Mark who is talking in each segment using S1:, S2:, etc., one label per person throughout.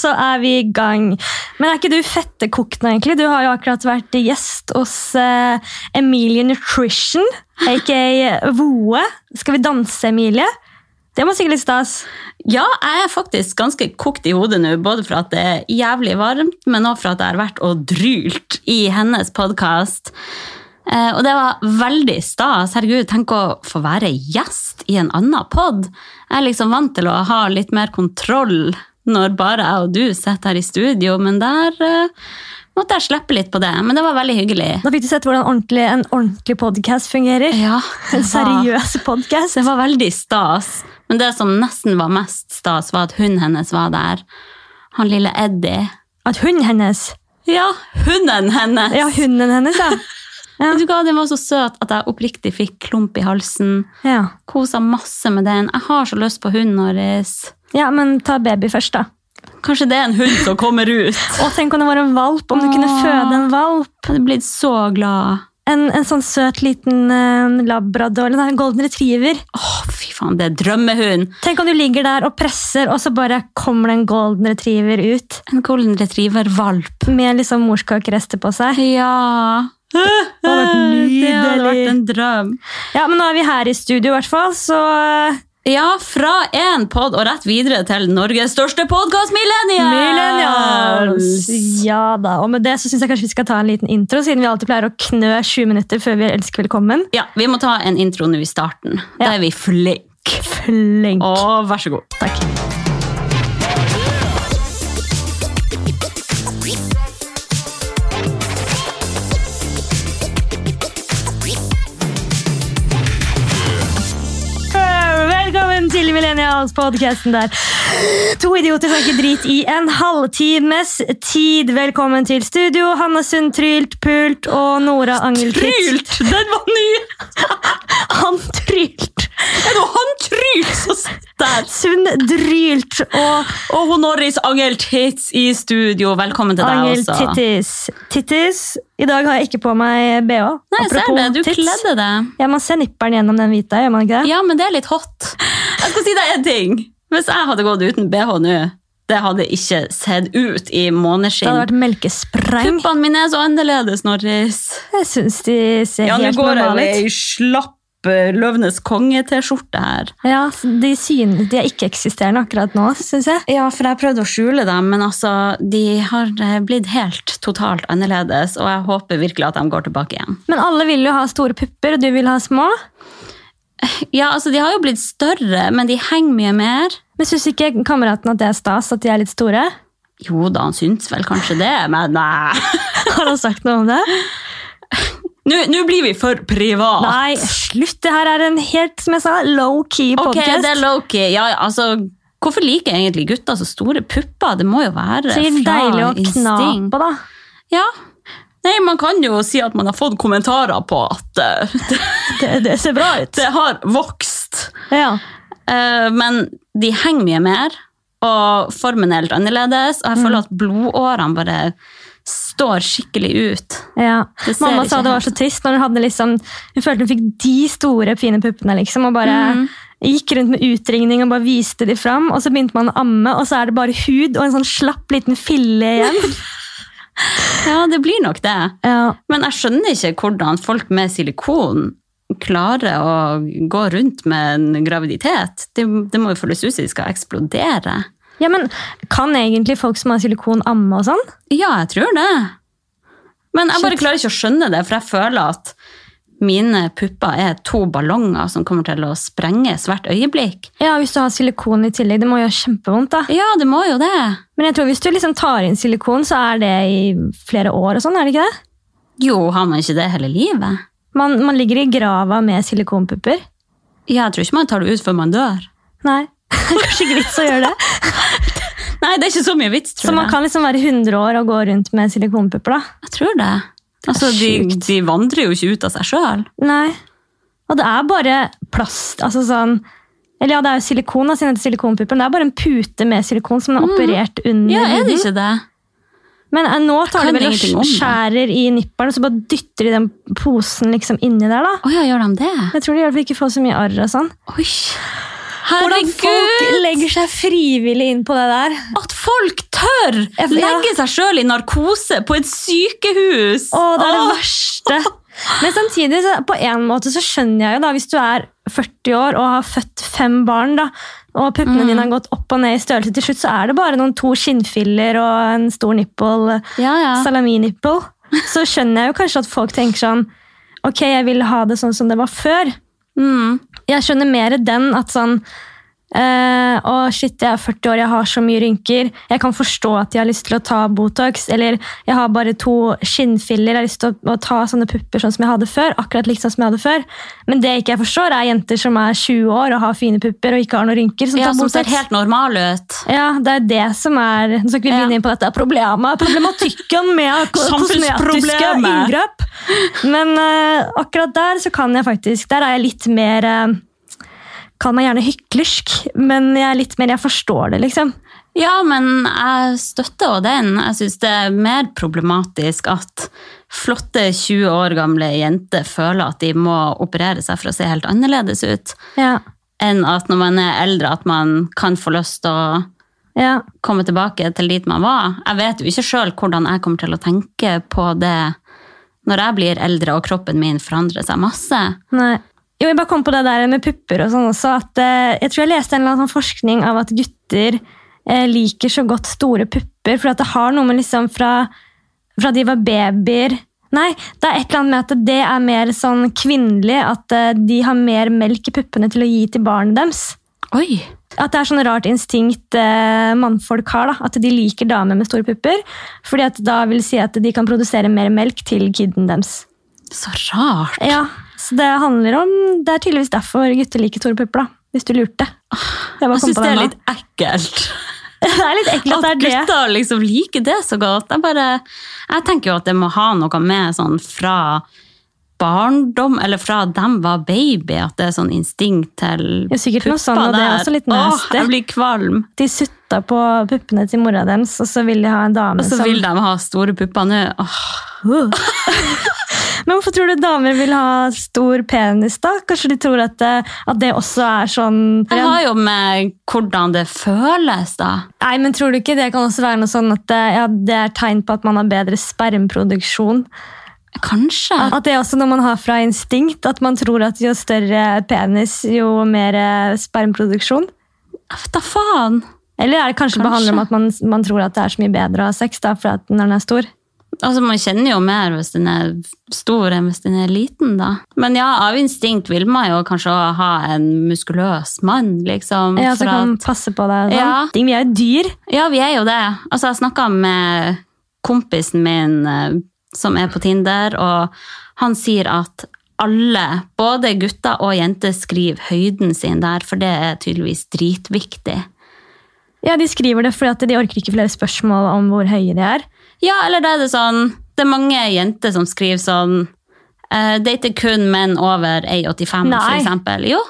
S1: så er vi i gang. Men er ikke du fettekokt nå, egentlig? Du har jo akkurat vært gjest hos eh, Emilie Nutrition, aka Voe. Skal vi danse, Emilie? Det må sikkert litt stas.
S2: Ja, jeg er faktisk ganske kokt i hodet nå, både for at det er jævlig varmt, men også for at jeg har vært og drylt i hennes podkast. Og det var veldig stas. Herregud, tenk å få være gjest i en annen pod. Jeg er liksom vant til å ha litt mer kontroll når bare jeg og du sitter her i studio, men der eh, måtte jeg slippe litt på det. Men det var veldig hyggelig.
S1: Da fikk du sett hvordan ordentlig, en ordentlig podkast fungerer.
S2: Ja,
S1: En
S2: det var-
S1: seriøs podkast.
S2: Det var veldig stas. Men det som nesten var mest stas, var at hunden hennes var der. Han lille Eddie.
S1: At hunden hennes
S2: Ja, hunden hennes!
S1: Ja, hunden hennes, ja.
S2: Vet du hva, Den var så søt at jeg oppriktig fikk klump i halsen.
S1: ja.
S2: Kosa masse med den. Jeg har så lyst på hunden vår.
S1: Ja, men ta baby først, da.
S2: Kanskje det er en hund som kommer ut?
S1: Å, tenk om det var en valp. Om du kunne
S2: Åh.
S1: føde en valp.
S2: Jeg hadde blitt så glad.
S1: En, en sånn søt liten eh, labrador eller en golden retriever.
S2: Åh, fy faen, det er drømmehund!
S1: Tenk om du ligger der og presser, og så bare kommer det en golden retriever ut
S2: En golden retriever-valp.
S1: med liksom morskakerester på seg.
S2: Ja Det
S1: vært
S2: hadde
S1: nydelig.
S2: vært en drøm.
S1: Ja, Men nå er vi her i studio, i hvert fall, så eh,
S2: Ja, fra én pod og rett videre til Norges største podkast, Millennials!
S1: Millennials! Ja da. Og med det så syns jeg kanskje vi skal ta en liten intro, siden vi alltid pleier å knø 20 minutter før vi elsker velkommen.
S2: Ja, vi må ta en intro nå i starten. Da
S1: Ja.
S2: er vi flinke.
S1: Flink.
S2: Og vær så god. Takk.
S1: Velkommen til Millennials-podkasten der to idioter snakker drit i en halvtimes tid. Velkommen til studio, Hanne Sund Trylt, Pult og Nora Angelkitt.
S2: Trylt! Den var ny!
S1: Han Trylt!
S2: Er det han Trylt som sitter der?
S1: Sund Drylt og
S2: Og hun Norris Angel Tits i studio. Velkommen til deg
S1: Angel
S2: også.
S1: Tittis. Tittis. I dag har jeg ikke på meg bh.
S2: Nei, jeg ser det. Du kledde deg.
S1: Ja, Man ser nipperen gjennom den hvite, gjør man ikke det?
S2: Ja, men det er litt hot. Jeg skal si deg en ting. Hvis jeg hadde gått uten BH nå, det hadde ikke sett ut i
S1: Det hadde
S2: måneskinn.
S1: vært melkespreng.
S2: Puppene mine er så annerledes, Norris.
S1: Jeg syns de ser
S2: Ja, nå
S1: helt
S2: går jeg
S1: normale
S2: med
S1: ut.
S2: ei slapp eh, Løvenes konge-T-skjorte her.
S1: Ja, de, syn, de er ikke-eksisterende akkurat nå, syns jeg.
S2: Ja, for jeg prøvde å skjule dem, men altså, de har eh, blitt helt totalt annerledes, og jeg håper virkelig at de går tilbake igjen.
S1: Men alle vil jo ha store pupper, og du vil ha små.
S2: Ja, altså, de har jo blitt større, men de henger mye mer.
S1: Men syns ikke kameraten at det er stas at de er litt store?
S2: Jo da, han syns vel kanskje det, men nei.
S1: Har han sagt noe om det?
S2: Nå nå blir vi for privat.
S1: Nei, slutt! Det her er en helt som jeg sa, low-key
S2: Ok,
S1: podcast.
S2: det er low-key. Ja, ja, altså, hvorfor liker egentlig gutter så store pupper? Det må jo være
S1: så det er
S2: fra
S1: deilig å kna
S2: instinkt.
S1: på, da.
S2: Ja. Nei, man kan jo si at man har fått kommentarer på at eh, det,
S1: Det, det ser bra ut.
S2: det har vokst.
S1: Ja.
S2: Eh, men de henger mye mer, og formen er helt annerledes, og jeg føler at blodårene bare står skikkelig ut.
S1: ja.
S2: Det ser
S1: Mamma
S2: ikke
S1: sa det var
S2: helt
S1: så trist når hun hadde liksom Hun følte hun fikk de store, fine puppene, liksom, og bare
S2: Mm.
S1: Gikk rundt med utringning og bare viste de fram, og så begynte man å amme, og så er det bare hud og en sånn slapp liten fille igjen.
S2: Ja, det blir nok det.
S1: Ja.
S2: Men jeg skjønner ikke hvordan folk med silikon klarer å gå rundt med en graviditet. Det, det må jo føles ut som de skal eksplodere.
S1: Ja, men Kan egentlig folk som har silikon, amme og sånn?
S2: Ja, jeg tror det. Men jeg bare
S1: Shit.
S2: klarer ikke å skjønne det, for jeg føler at mine pupper er to ballonger som kommer til å sprenges hvert øyeblikk.
S1: Ja, Hvis du har silikon i tillegg. Det må gjøre kjempevondt. da.
S2: Ja, det må jo det.
S1: Men jeg tror hvis du liksom tar inn silikon, så er det i flere år. og sånn, er det ikke det?
S2: Jo, har man ikke det hele livet?
S1: Man, man ligger i grava med silikonpupper.
S2: Ja, jeg tror ikke man tar det ut før man dør.
S1: Nei. Kanskje ikke vits å gjøre det.
S2: Nei, det er ikke så mye vits, tror
S1: Så man
S2: jeg.
S1: kan liksom være 100 år og gå rundt med silikonpupper. da.
S2: Jeg tror det. Altså, de,
S1: sjukt.
S2: de vandrer jo ikke ut av seg sjøl.
S1: Nei. Og det er bare plast. altså sånn... Eller ja, det er jo silikon, da, siden det heter silikonpupper, men det er bare en pute med silikon som er operert under
S2: Mm. Ja, er
S1: huden.
S2: det ikke det?
S1: Men eh, nå tar
S2: Kan
S1: de vel og
S2: ingenting om det.
S1: skjærer i nipperen, og så bare dytter de den posen liksom inni der, da.
S2: Å ja, gjør de det?
S1: Jeg tror de gjør det for ikke å få så mye arr og sånn.
S2: Oi.
S1: Hvordan folk
S2: Herregud!
S1: legger seg frivillig inn på det der.
S2: At folk tør! gjør!
S1: Ja, for- ja.
S2: Legge seg sjøl i narkose på et sykehus!
S1: Å, det er det
S2: Åh.
S1: verste. Men samtidig, så, på en måte, så skjønner jeg jo da, hvis du er 40 år og har født fem barn, da, og puppene
S2: Mm.
S1: dine har gått opp og ned i størrelse til slutt, så er det bare noen to skinnfiller og en stor nipple,
S2: Ja, ja.
S1: salaminippel. Så skjønner jeg jo kanskje at folk tenker sånn, ok, jeg vil ha det sånn som det var før.
S2: Mm.
S1: Jeg skjønner mer den at sånn, eh, å shit, jeg er 40 år, jeg har så mye rynker. Jeg kan forstå at jeg har lyst til å ta Botox, eller jeg har bare to skinnfiller, jeg har lyst til å, å ta sånne pupper sånn som jeg hadde før, akkurat liksom som jeg hadde før. Men det ikke jeg forstår er jenter som er 20 år og har fine pupper og ikke har noen rynker, som
S2: ja,
S1: tar
S2: som ser
S1: Botox.
S2: helt normal ut.
S1: Ja, det er det som er Nå skal ikke vi
S2: Ja.
S1: begynne inn på dette problemet, problematikken med ko- kosmetiske
S2: Samfunnsproblemet.
S1: inngrep. Men eh, akkurat der så kan jeg faktisk Der er jeg litt mer uh, Kall meg gjerne hyklersk, men jeg er litt mer Jeg forstår det, liksom.
S2: Ja, men jeg støtter jo den. Jeg syns det er mer problematisk at flotte 20 år gamle jenter føler at de må operere seg for å se helt annerledes ut,
S1: Ja.
S2: enn at når man er eldre at man kan få lyst til å
S1: ja.
S2: komme tilbake til dit man var. Jeg vet jo ikke sjøl hvordan jeg kommer til å tenke på det når jeg blir eldre og kroppen min forandrer seg masse.
S1: Nei. Jo, jeg bare kom på det der med pupper og sånn også. At, eh, jeg tror jeg leste en eller annen sånn forskning av at gutter eh, liker så godt store pupper, for at det har noe med liksom fra, fra de var babyer Nei, det er et eller annet med at det er mer sånn kvinnelig, at eh, de har mer melk i puppene til å gi til barnet deres.
S2: Oi!
S1: At det er sånn rart instinkt eh, mannfolk har, da, at de liker damer med store pupper. fordi at da vil si at de kan produsere mer melk til kiden deres.
S2: Så rart!
S1: Ja, så det handler om Det er tydeligvis derfor gutter liker store pupper, da. Hvis du lurte. Jeg bare
S2: Ah, Jeg
S1: kom
S2: syns
S1: på
S2: det
S1: den
S2: er
S1: nå.
S2: litt ekkelt.
S1: det er litt ekkelt at
S2: At
S1: det er det.
S2: gutter liksom liker det så godt. Jeg, bare, jeg tenker jo at det må ha noe med sånn fra barndom, eller fra dem var baby, at det er sånn instinkt til
S1: Ja, sikkert noe sånn,
S2: puppa
S1: og det er
S2: der.
S1: også litt
S2: Åh,
S1: nasty.
S2: jeg blir kvalm.
S1: De sutta på puppene til mora deres, og så vil de ha en dame
S2: Og så
S1: som
S2: vil de ha store pupper nå. Åh.
S1: Men hvorfor tror du damer vil ha stor penis, da? Kanskje de tror at det, at det også er sånn
S2: Det har jo med hvordan det føles, da.
S1: Nei, men tror du ikke det kan også være noe sånn at eh, ja, det er tegn på at man har bedre spermproduksjon?
S2: Kanskje.
S1: At det er også når man har fra instinkt, at man tror at jo større penis, jo mer eh, spermproduksjon?
S2: Jeg vet da faen.
S1: Eller er det kanskje, bare handler om at man, man tror at det er så mye bedre å ha sex da, for at når den er stor?
S2: Altså, Man kjenner jo mer hvis den er stor enn hvis den er liten, da. Men ja, av instinkt vil man jo kanskje også ha en muskuløs mann, liksom.
S1: Ja, så
S2: for
S1: kan
S2: at-
S1: man passe på deg. og
S2: Ja.
S1: sånn. Ting, Vi er jo dyr.
S2: Ja, vi er jo det. Altså, jeg snakka med kompisen min eh, som er på Tinder, og han sier at alle, både gutter og jenter, skriver høyden sin der, for det er tydeligvis dritviktig.
S1: Ja, De skriver det fordi at de orker ikke flere spørsmål om hvor høye de er.
S2: Ja, eller da er det sånn Det er mange jenter som skriver sånn eh, Dater kun menn over 1,85, for
S1: Nei.
S2: eksempel. Jo,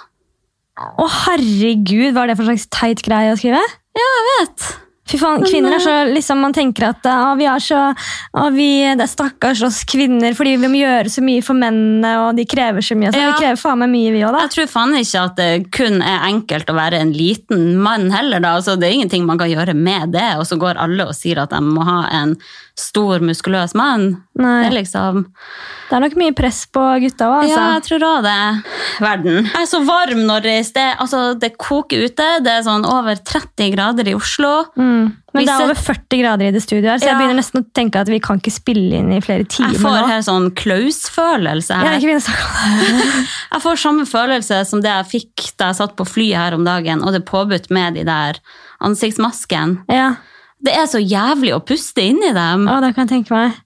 S1: Å herregud, hva er det for slags teit greie å skrive?
S2: jeg vet.
S1: Fy faen, kvinner er så liksom, Man tenker at ah, vi er så ah, vi, Det er stakkars oss kvinner, fordi vi må gjøre så mye for mennene, og de krever så mye. Så
S2: Ja.
S1: Vi krever faen meg mye, vi òg, da.
S2: Jeg tror faen ikke at det kun er enkelt å være en liten mann heller, da. Altså, det er ingenting man kan gjøre med det, og så går alle og sier at de må ha en stor, muskuløs mann.
S1: Nei.
S2: Det er liksom
S1: Det er nok mye press på gutta òg, altså.
S2: Ja, jeg tror òg det. Verden. Jeg er så varm når det, sted, altså, det koker ute. Det er sånn over 30 grader i Oslo.
S1: Mm. Men
S2: Vi
S1: det er
S2: set-
S1: over 40 grader i det studioet her, så
S2: Ja.
S1: jeg begynner nesten å tenke at vi kan ikke spille inn i flere timer
S2: Jeg får
S1: nå.
S2: helt sånn klausfølelse
S1: Jeg har
S2: her.
S1: ikke begynt å snakke om det.
S2: Jeg får samme følelse som det jeg fikk da jeg satt på flyet her om dagen, og det er påbudt med de der ansiktsmaskene.
S1: Ja.
S2: Det er så jævlig å puste inni dem.
S1: Å, det kan jeg tenke meg.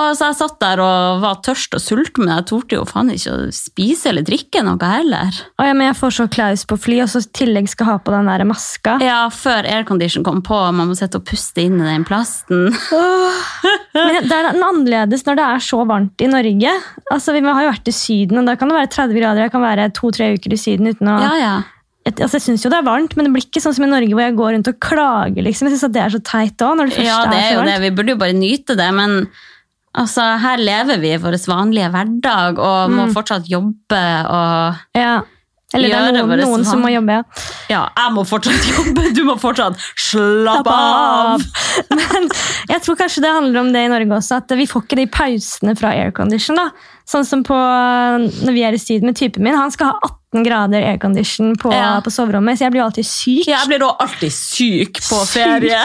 S2: Og så jeg satt der og var tørst og sulten, men jeg torde jo faen ikke å spise eller drikke noe heller.
S1: Å, ja, men jeg får så klaus på fly, og så i tillegg skal ha på den der maska.
S2: Ja, før aircondition kom på, og man må sitte og puste inn i den plasten.
S1: Men det er den annerledes når det er så varmt i Norge. Altså, Vi har jo vært i Syden, og da kan det være 30 grader. Jeg kan være to-tre uker i Syden uten å
S2: Ja, ja.
S1: Et- Altså, Jeg syns jo det er varmt, men det blir ikke sånn som i Norge hvor jeg går rundt og klager. liksom. Jeg synes at Det er så teit òg, når det først
S2: Ja, det er
S1: så
S2: jo det.
S1: varmt.
S2: Vi burde jo bare nyte det, men altså, her Mm. lever vi i vår vanlige hverdag og må fortsatt jobbe og
S1: Ja. Eller det er
S2: Gjøre
S1: noen,
S2: bare sånn.
S1: noen
S2: som
S1: som
S2: han.
S1: må jobbe. ja.
S2: Ja, jeg må fortsatt jobbe, du må fortsatt slappe av!
S1: Men jeg tror kanskje det handler om det i Norge også, at vi får ikke de pausene fra aircondition. da. Sånn som på, når vi er i Syden med typen min. Han skal ha 18 grader aircondition på,
S2: Ja.
S1: på soverommet, så jeg blir jo alltid syk.
S2: Jeg blir da alltid syk på
S1: Syk.
S2: ferie.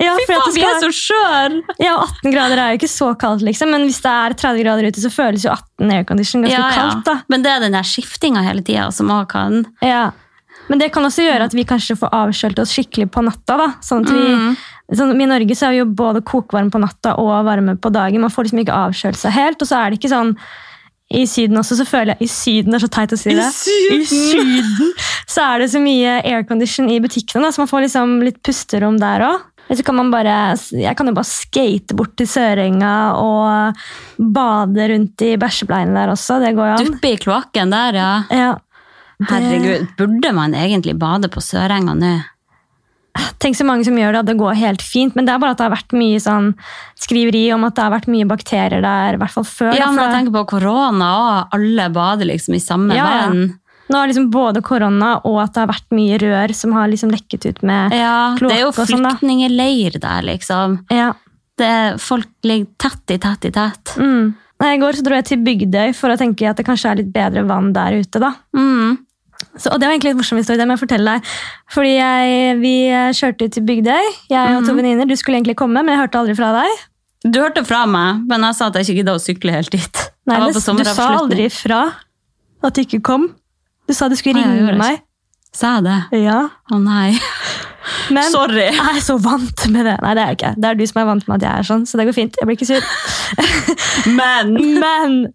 S1: Ja,
S2: Fy
S1: for at det
S2: faen, vi er
S1: skal,
S2: så skjøre!
S1: ja, 18 grader er jo ikke så kaldt, liksom, men hvis det er 30 grader ute, så føles jo 18 aircondition ganske
S2: Ja, ja.
S1: kaldt. da.
S2: Men det er den der skiftinga hele tida som òg kan
S1: Ja. Men det kan også gjøre at vi kanskje får avkjølt oss skikkelig på natta. da. Sånn at vi, sånn, I Norge så er vi jo både kokvarme på natta og varme på dagen. Man får liksom ikke avkjølt seg helt. Og så er det ikke sånn i Syden også, så føler jeg I Syden det er så teit å si det.
S2: Syden!
S1: I Syden så er det så mye aircondition i butikkene, da, så man får liksom litt pusterom der òg. Så kan man bare, jeg kan jo bare skate bort til Sørenga og bade rundt i bæsjebleiene der også. Det går jo an.
S2: duppe i kloakken der, ja.
S1: Ja.
S2: Herregud, burde man egentlig bade på Sørenga nå?
S1: Tenk så mange som gjør det, og det går helt fint. Men det er bare at det har vært mye sånn skriveri om at det har vært mye bakterier der, i hvert fall før.
S2: Ja,
S1: da, for
S2: men jeg
S1: det-
S2: tenker på korona og alle bader liksom i samme
S1: Ja, ja.
S2: vann.
S1: Nå har liksom både korona og at det har vært mye rør som har liksom lekket ut med
S2: Ja, det er jo
S1: kloakk og sånn, da.
S2: flyktningeleir der, liksom.
S1: Ja.
S2: Det, folk ligger tett i tett i tett.
S1: Mm. Nei, I går så dro jeg til Bygdøy for å tenke at det kanskje er litt bedre vann der ute. da.
S2: Mm.
S1: Så, og det var egentlig litt morsom historie, det må jeg fortelle deg. Fordi jeg, Vi eh, kjørte ut til Bygdøy, jeg
S2: Mhm.
S1: og to venninner. Du skulle egentlig komme, men jeg hørte aldri fra deg.
S2: Du hørte fra meg, men jeg sa at jeg ikke gidda å sykle helt dit.
S1: Nei,
S2: jeg var
S1: det- du
S2: på
S1: sa
S2: sommeravslutning.
S1: aldri fra at du ikke kom. Du sa du skulle
S2: Nei, jeg
S1: ringe
S2: gjorde
S1: meg.
S2: Sa jeg det?
S1: Ja,
S2: Å nei.
S1: men
S2: Sorry.
S1: jeg er så vant med det. Nei, det er jeg ikke. Det er du som er vant med at jeg er sånn, så det går fint. Jeg blir ikke sur.
S2: Men
S1: Men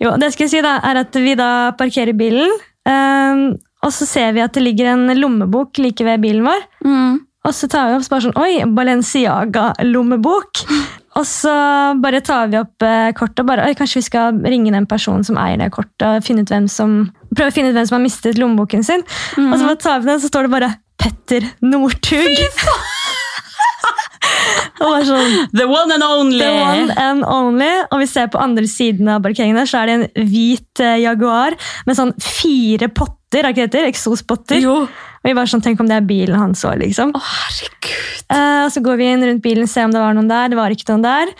S1: jo, det skal jeg si da, er at vi da parkerer bilen, ehm, og så ser vi at det ligger en lommebok like ved bilen vår.
S2: mm.
S1: Og så tar vi opp så bare sånn, oi, Balenciaga-lommebok. Og så bare tar vi opp eh, kortet og bare, oi, kanskje vi skal ringe den personen som eier det kortet og finne ut hvem som, prøve å finne ut hvem som har mistet lommeboken sin. Og så bare tar vi den, så står det bare Petter Northug. og bare sånn,
S2: The one and only!
S1: the one and only. Og vi ser på andre siden av parkeringen der, så er det en hvit eh, Jaguar med sånn fire potter, er ikke det det heter? Eksospotter.
S2: Jo.
S1: Og vi bare sånn, tenk om det er bilen hans også, liksom.
S2: Å, herregud.
S1: Eh, og så går vi inn rundt bilen og ser om det var noen der. Det var ikke noen der.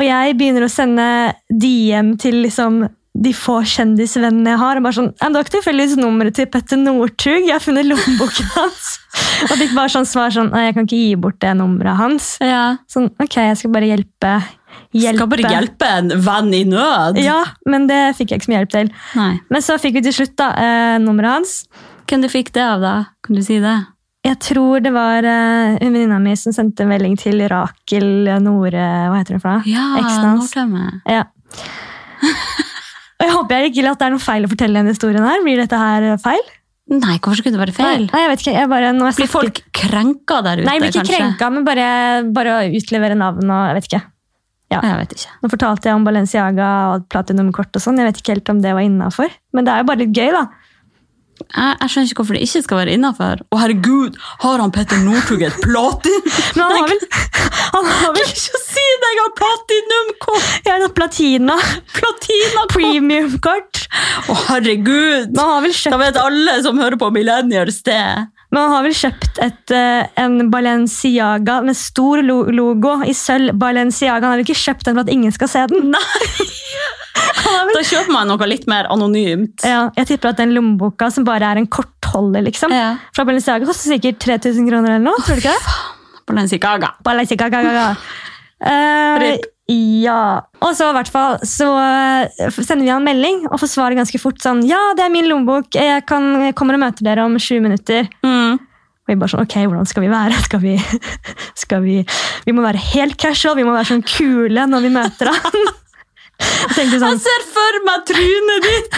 S1: Og jeg begynner å sende DM til liksom de få kjendisvennene jeg har. og bare sånn, «Ja, men 'Det var ikke tilfeldigvis nummeret til Petter Northug. Jeg har funnet lommeboken hans.' og fikk bare sånn svar sånn 'Nei, jeg kan ikke gi bort det nummeret hans'.
S2: Ja.
S1: Sånn, ok, jeg skal bare hjelpe. hjelpe.
S2: Skal bare hjelpe en venn i nød.
S1: Ja, men det fikk jeg ikke så mye hjelp til.
S2: Nei.
S1: Men så fikk vi til slutt da, eh, nummeret hans.
S2: Hvem du fikk det av, da? Kan du si det?
S1: Jeg tror det var eh, en venninna mi som sendte en melding til Rakel Nore Hva heter hun for noe?
S2: Ja,
S1: Eksen hans.
S2: Nordtømme.
S1: Ja. Og jeg håper jeg ikke at det er noe feil å fortelle denne historien her. Blir dette her feil?
S2: Nei, hvorfor skulle det være feil?
S1: Nei, nei, jeg vet ikke. Jeg bare, når jeg
S2: Blir
S1: snakker-
S2: folk krenka der ute,
S1: Nei, jeg blir ikke
S2: kanskje?
S1: krenka, men bare, bare å utlevere navn og jeg vet ikke.
S2: Jeg vet ikke.
S1: Nå fortalte jeg om Balenciaga og platinumkort og sånn. Jeg vet ikke helt om det var innafor, men det er jo bare litt gøy, da.
S2: Jeg, jeg skjønner ikke hvorfor det ikke skal være innafor. Å, herregud, har han Petter Northug et platin?
S1: Men han har vel, han har vel
S2: Ikke si det, jeg har platinumkort!
S1: jeg har noe platina,
S2: Platina!
S1: premiumkort.
S2: Å, herregud!
S1: Men han har vel
S2: Da
S1: kjøpt,
S2: vet alle som hører på Millennials det.
S1: men han har vel kjøpt et, eh, en Balenciaga med stor lo- logo i sølv. Balenciaga. Han har vel ikke kjøpt den for at ingen skal se den?
S2: Nei,
S1: Han har vel
S2: da kjøper man noe litt mer anonymt.
S1: Ja, jeg tipper at den lommeboka som bare er en kortholder, liksom,
S2: Ja.
S1: fra Balenciaga, koster sikkert 3000 kroner eller noe. tror du ikke det?
S2: Balenciaga.
S1: Balenciaga. Eh,
S2: Rip.
S1: ja. Og så i hvert fall så eh, sender vi han en melding og får svaret ganske fort sånn Ja, det er min lommebok. Jeg kan, jeg kommer og møter dere om sju minutter.
S2: Mm.
S1: Og vi bare sånn, ok, hvordan skal vi være? Skal vi, skal vi, vi må være helt casual, vi må være sånn kule når vi møter han. Jeg tenkte sånn,
S2: Jeg ser for meg trynet ditt!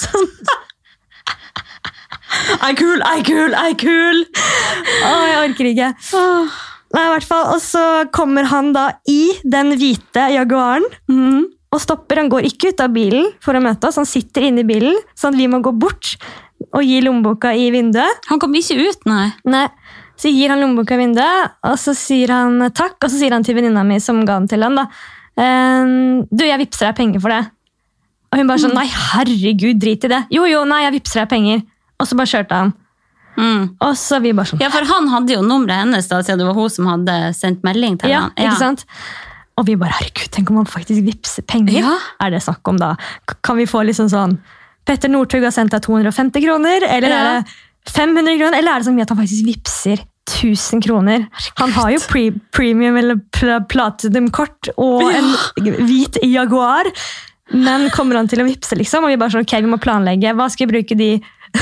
S1: sånn
S2: Jeg er kul, jeg er kul, jeg er kul!
S1: Å, jeg orker ikke.
S2: Ah.
S1: Nei, i hvert fall. Og så kommer han da i den hvite Jaguaren
S2: Mm.
S1: og stopper. Han går ikke ut av bilen for å møte oss, han sitter inne i bilen, sånn at vi må gå bort og gi lommeboka i vinduet.
S2: Han kom ikke ut, nei.
S1: Nei. Så gir han lommeboka i vinduet, og så sier han takk, og så sier han til venninna mi som ga den til han, da. «Ehm, du, jeg vippser deg penger for det. Og hun bare sånn Nei, herregud, drit i det. Jo, jo, nei, jeg vippser deg penger. Og så bare kjørte han.
S2: Mm.
S1: Og så vi bare sånn
S2: Ja, for han hadde jo nummeret hennes, da, siden det var hun som hadde sendt melding til
S1: Ja,
S2: han.
S1: ikke sant? Og vi bare herregud, tenk om han faktisk vippser penger.
S2: Ja.
S1: Er det snakk om da? K- Kan vi få liksom sånn Petter Northug har sendt deg 250 kroner, eller
S2: Ja.
S1: er det 500 kroner? Eller er det så mye at han faktisk vippser 1000 kroner? Han har jo pre premium eller pl platinum-kort og en hvit Jaguar. Men kommer han til å vippse, liksom? Og vi bare sånn, ok, vi må planlegge. Hva skal vi bruke de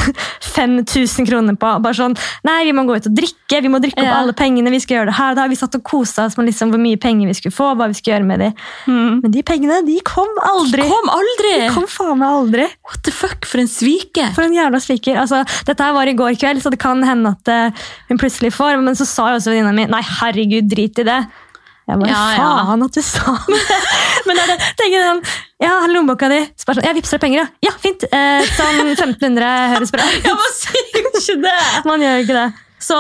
S1: 5000 kronene på? Bare sånn, nei, vi må gå ut og drikke, vi må drikke opp
S2: Ja.
S1: alle pengene, vi skal gjøre det her. Da har vi satt og koset oss med liksom hvor mye penger vi skulle få, hva vi skulle gjøre med de.
S2: Mm.
S1: Men de pengene, de kom aldri.
S2: Kom aldri!
S1: De kom faen meg aldri.
S2: What the fuck, for en svike!
S1: For en jævla sviker. Altså, dette her var i går kveld, så det kan hende at eh, hun plutselig får, men så sa jo også venninna mi, nei, herregud, drit i det. Jeg bare,
S2: Ja, ja.
S1: faen at du sa det. men det er det, tenker jeg sånn, ja, her er lommeboka di. Så bare sånn, jeg vipser deg penger, ja. Ja, fint. Eh, sånn 1500 høres bra. ut.
S2: Ja, man sier jo ikke det!
S1: Man gjør jo ikke det.
S2: Så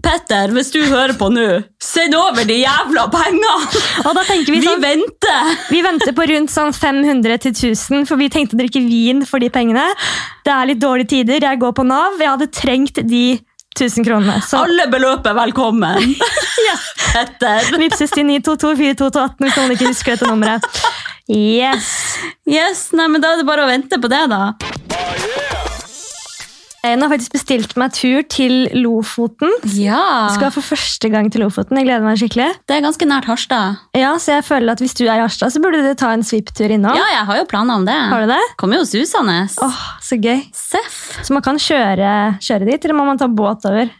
S2: Petter, hvis du hører på nå, send over de jævla pengene!
S1: Og da tenker vi
S2: Vi
S1: sånn,
S2: venter!
S1: vi venter på rundt sånn 500 til 1000, for vi tenkte å drikke vin for de pengene. Det er litt dårlige tider, jeg går på NAV, jeg hadde trengt de 1000 kronene. Så
S2: Alle beløp er velkommen!
S1: ja.
S2: Petter.
S1: Vipses til 9224218 hvis noen ikke husker dette nummeret. Yes!
S2: Yes, nei, men Da er det bare å vente på det, da.
S1: Hun Eh, har faktisk bestilt meg tur til Lofoten.
S2: Ja,
S1: Skal for første gang til Lofoten. Jeg gleder meg skikkelig.
S2: Det er ganske nært Harstad.
S1: Ja, Så jeg føler at hvis du er i Harstad, så burde du ta en svipptur innom.
S2: Ja, jeg har jo planer om det.
S1: Har du det?
S2: Kommer jo susende.
S1: Åh, Så gøy.
S2: Seff.
S1: Så man kan kjøre, kjøre dit, eller må man ta båt over?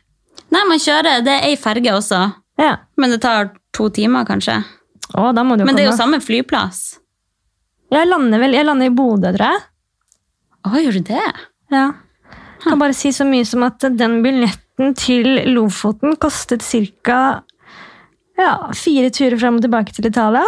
S2: Nei, man kjører. Det er ei ferge også.
S1: Ja.
S2: Men det tar to timer, kanskje.
S1: Å, da må du
S2: Men det er jo
S1: komme.
S2: samme flyplass.
S1: Jeg lander vel jeg lander i Bodø, tror jeg.
S2: Å, gjør du det?
S1: Ja. Kan bare si så mye som at den billetten til Lofoten kostet ca. Ja, fire turer fram og tilbake til Italia.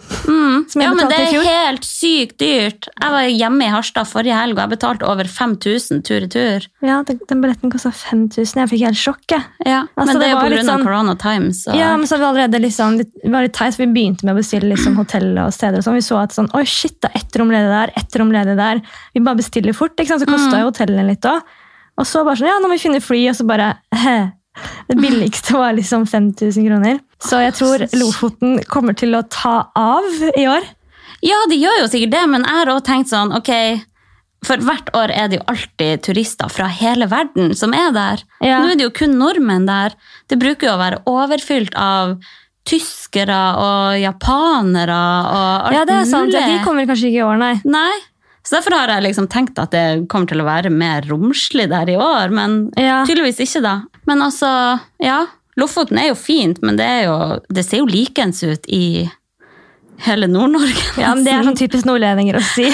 S2: Mm.
S1: Som jeg
S2: ja, men det
S1: betalte i
S2: er
S1: fjor.
S2: helt sykt dyrt. Jeg var hjemme i Harstad forrige helg, og jeg betalte over 5000 tur-retur.
S1: Ja, den, den billetten kosta 5000. Jeg fikk helt sjokk. jeg.
S2: Ja.
S1: Altså,
S2: men det,
S1: det
S2: er jo
S1: var
S2: på
S1: litt
S2: grunn av
S1: sånn-
S2: Corona Times. Og...
S1: Ja, men så hadde vi allerede liksom, det var litt teit, for vi begynte med å bestille liksom hotell og steder. og sånn. Vi så at sånn, oi shit, det er ett rom ledig der, ett rom ledig der. Vi bare bestiller fort, ikke sant? så kosta jo hotellene litt òg. Og så bare sånn, ja, nå må vi finne fly, og så bare he, Det billigste var liksom 5000 kroner. Så jeg tror Lofoten kommer til å ta av i år.
S2: Ja, de gjør jo sikkert det, men jeg har også tenkt sånn, ok, for hvert år er det jo alltid turister fra hele verden som er der.
S1: Ja.
S2: Nå er det jo kun nordmenn der. Det bruker jo å være overfylt av tyskere og japanere og alt
S1: Ja, det er sant. Ja,
S2: mulig.
S1: de kommer kanskje ikke i år, nei.
S2: Nei, så derfor har jeg liksom tenkt at det kommer til å være mer romslig der i år, men
S1: Ja.
S2: tydeligvis ikke da. Men altså, ja, Lofoten er jo fint, men det, er jo, det ser jo likens ut i hele Nord-Norge.
S1: Ja, men Det er
S2: nesten.
S1: sånn typisk nordlendinger å si.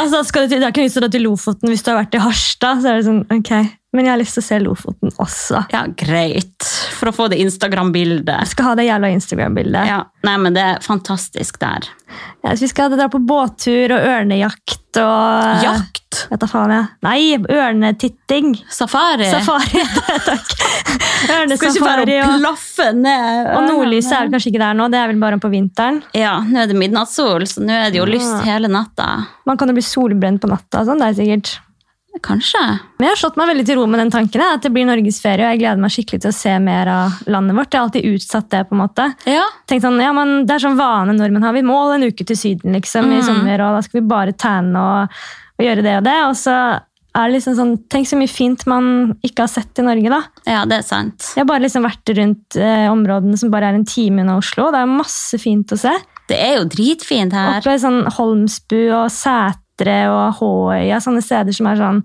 S1: altså, skal du til, Det er ikke noe vits i å dra til Lofoten hvis du har vært i Harstad. så er det sånn, ok. Men jeg har lyst til å se Lofoten også.
S2: Ja, greit. For å få det Instagram-bildet.
S1: Jeg skal ha det jævla Instagram-bildet.
S2: Ja. Nei, men det er fantastisk der.
S1: Ja, så vi skal dra på båttur og ørnejakt og
S2: Jakt!
S1: Vet da faen, jeg. Nei, ørnetitting.
S2: Safari!
S1: Safari, takk.
S2: Skal ikke bare
S1: Ørnesafari og,
S2: plaffe ned
S1: og nordlyset er vel kanskje ikke der nå. Det er vel bare om på vinteren.
S2: Ja, nå er det midnattssol, så nå er det jo lyst
S1: Ja.
S2: hele natta.
S1: Man kan jo bli solbrent på natta. og Sånn, det er sikkert.
S2: Kanskje.
S1: Men jeg har slått meg veldig til ro med den tanken. jeg, At det blir norgesferie, og jeg gleder meg skikkelig til å se mer av landet vårt. Jeg har alltid utsatt det, på en måte.
S2: Ja.
S1: Tenkt sånn, ja, men Det er sånn vane nordmenn har. Vi må en uke til Syden liksom, i
S2: Mm.
S1: sommer, og da skal vi bare tanne og, og gjøre det og det. Og så er det liksom sånn, Tenk så mye fint man ikke har sett i Norge, da.
S2: ja, det er sant.
S1: Jeg har bare liksom vært rundt eh, områdene som bare er en time unna Oslo. Det er masse fint å se.
S2: Det er jo dritfint her.
S1: Oppe i sånn Holmsbu og Sætre og Håøya, sånne steder som er sånn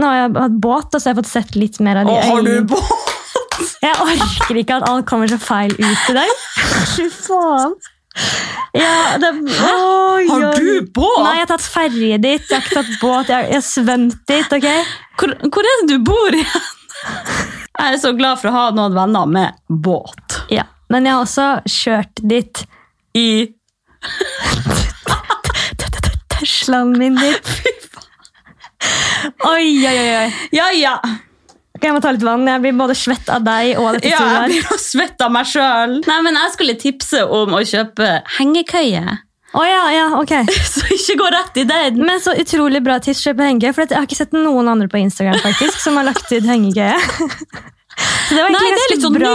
S1: Nå har jeg hatt båt, og så har jeg fått sett litt mer av de øyene.
S2: båt?
S1: Jeg orker ikke at alt kommer så feil ut i dag. Fy faen. Ja, det, Oi, oi.
S2: båt?
S1: Nei, jeg har tatt ferje dit, jeg har ikke tatt båt, jeg har, jeg har svømt dit. ok?
S2: Hvor, hvor er det du bor igjen? Jeg er så glad for å ha noen venner med båt.
S1: Ja. Men jeg har også kjørt dit.
S2: I
S1: Teslaen min dit. Oi, oi, oi. oi.
S2: Ja, ja.
S1: Ok, jeg må ta litt vann. Jeg blir både svett av deg og dette
S2: Ja, jeg
S1: studioet.
S2: blir jo svett av meg sjøl. Nei, men jeg skulle tipse om å kjøpe hengekøye.
S1: Å ja, ja, ok.
S2: Så ikke gå rett i den!
S1: Men så utrolig bra tips kjøp hengekøye, for jeg har ikke sett noen andre på Instagram faktisk, som har lagt ut hengekøye. Så det var egentlig
S2: Nei, det er
S1: ganske
S2: litt sånn
S1: bra.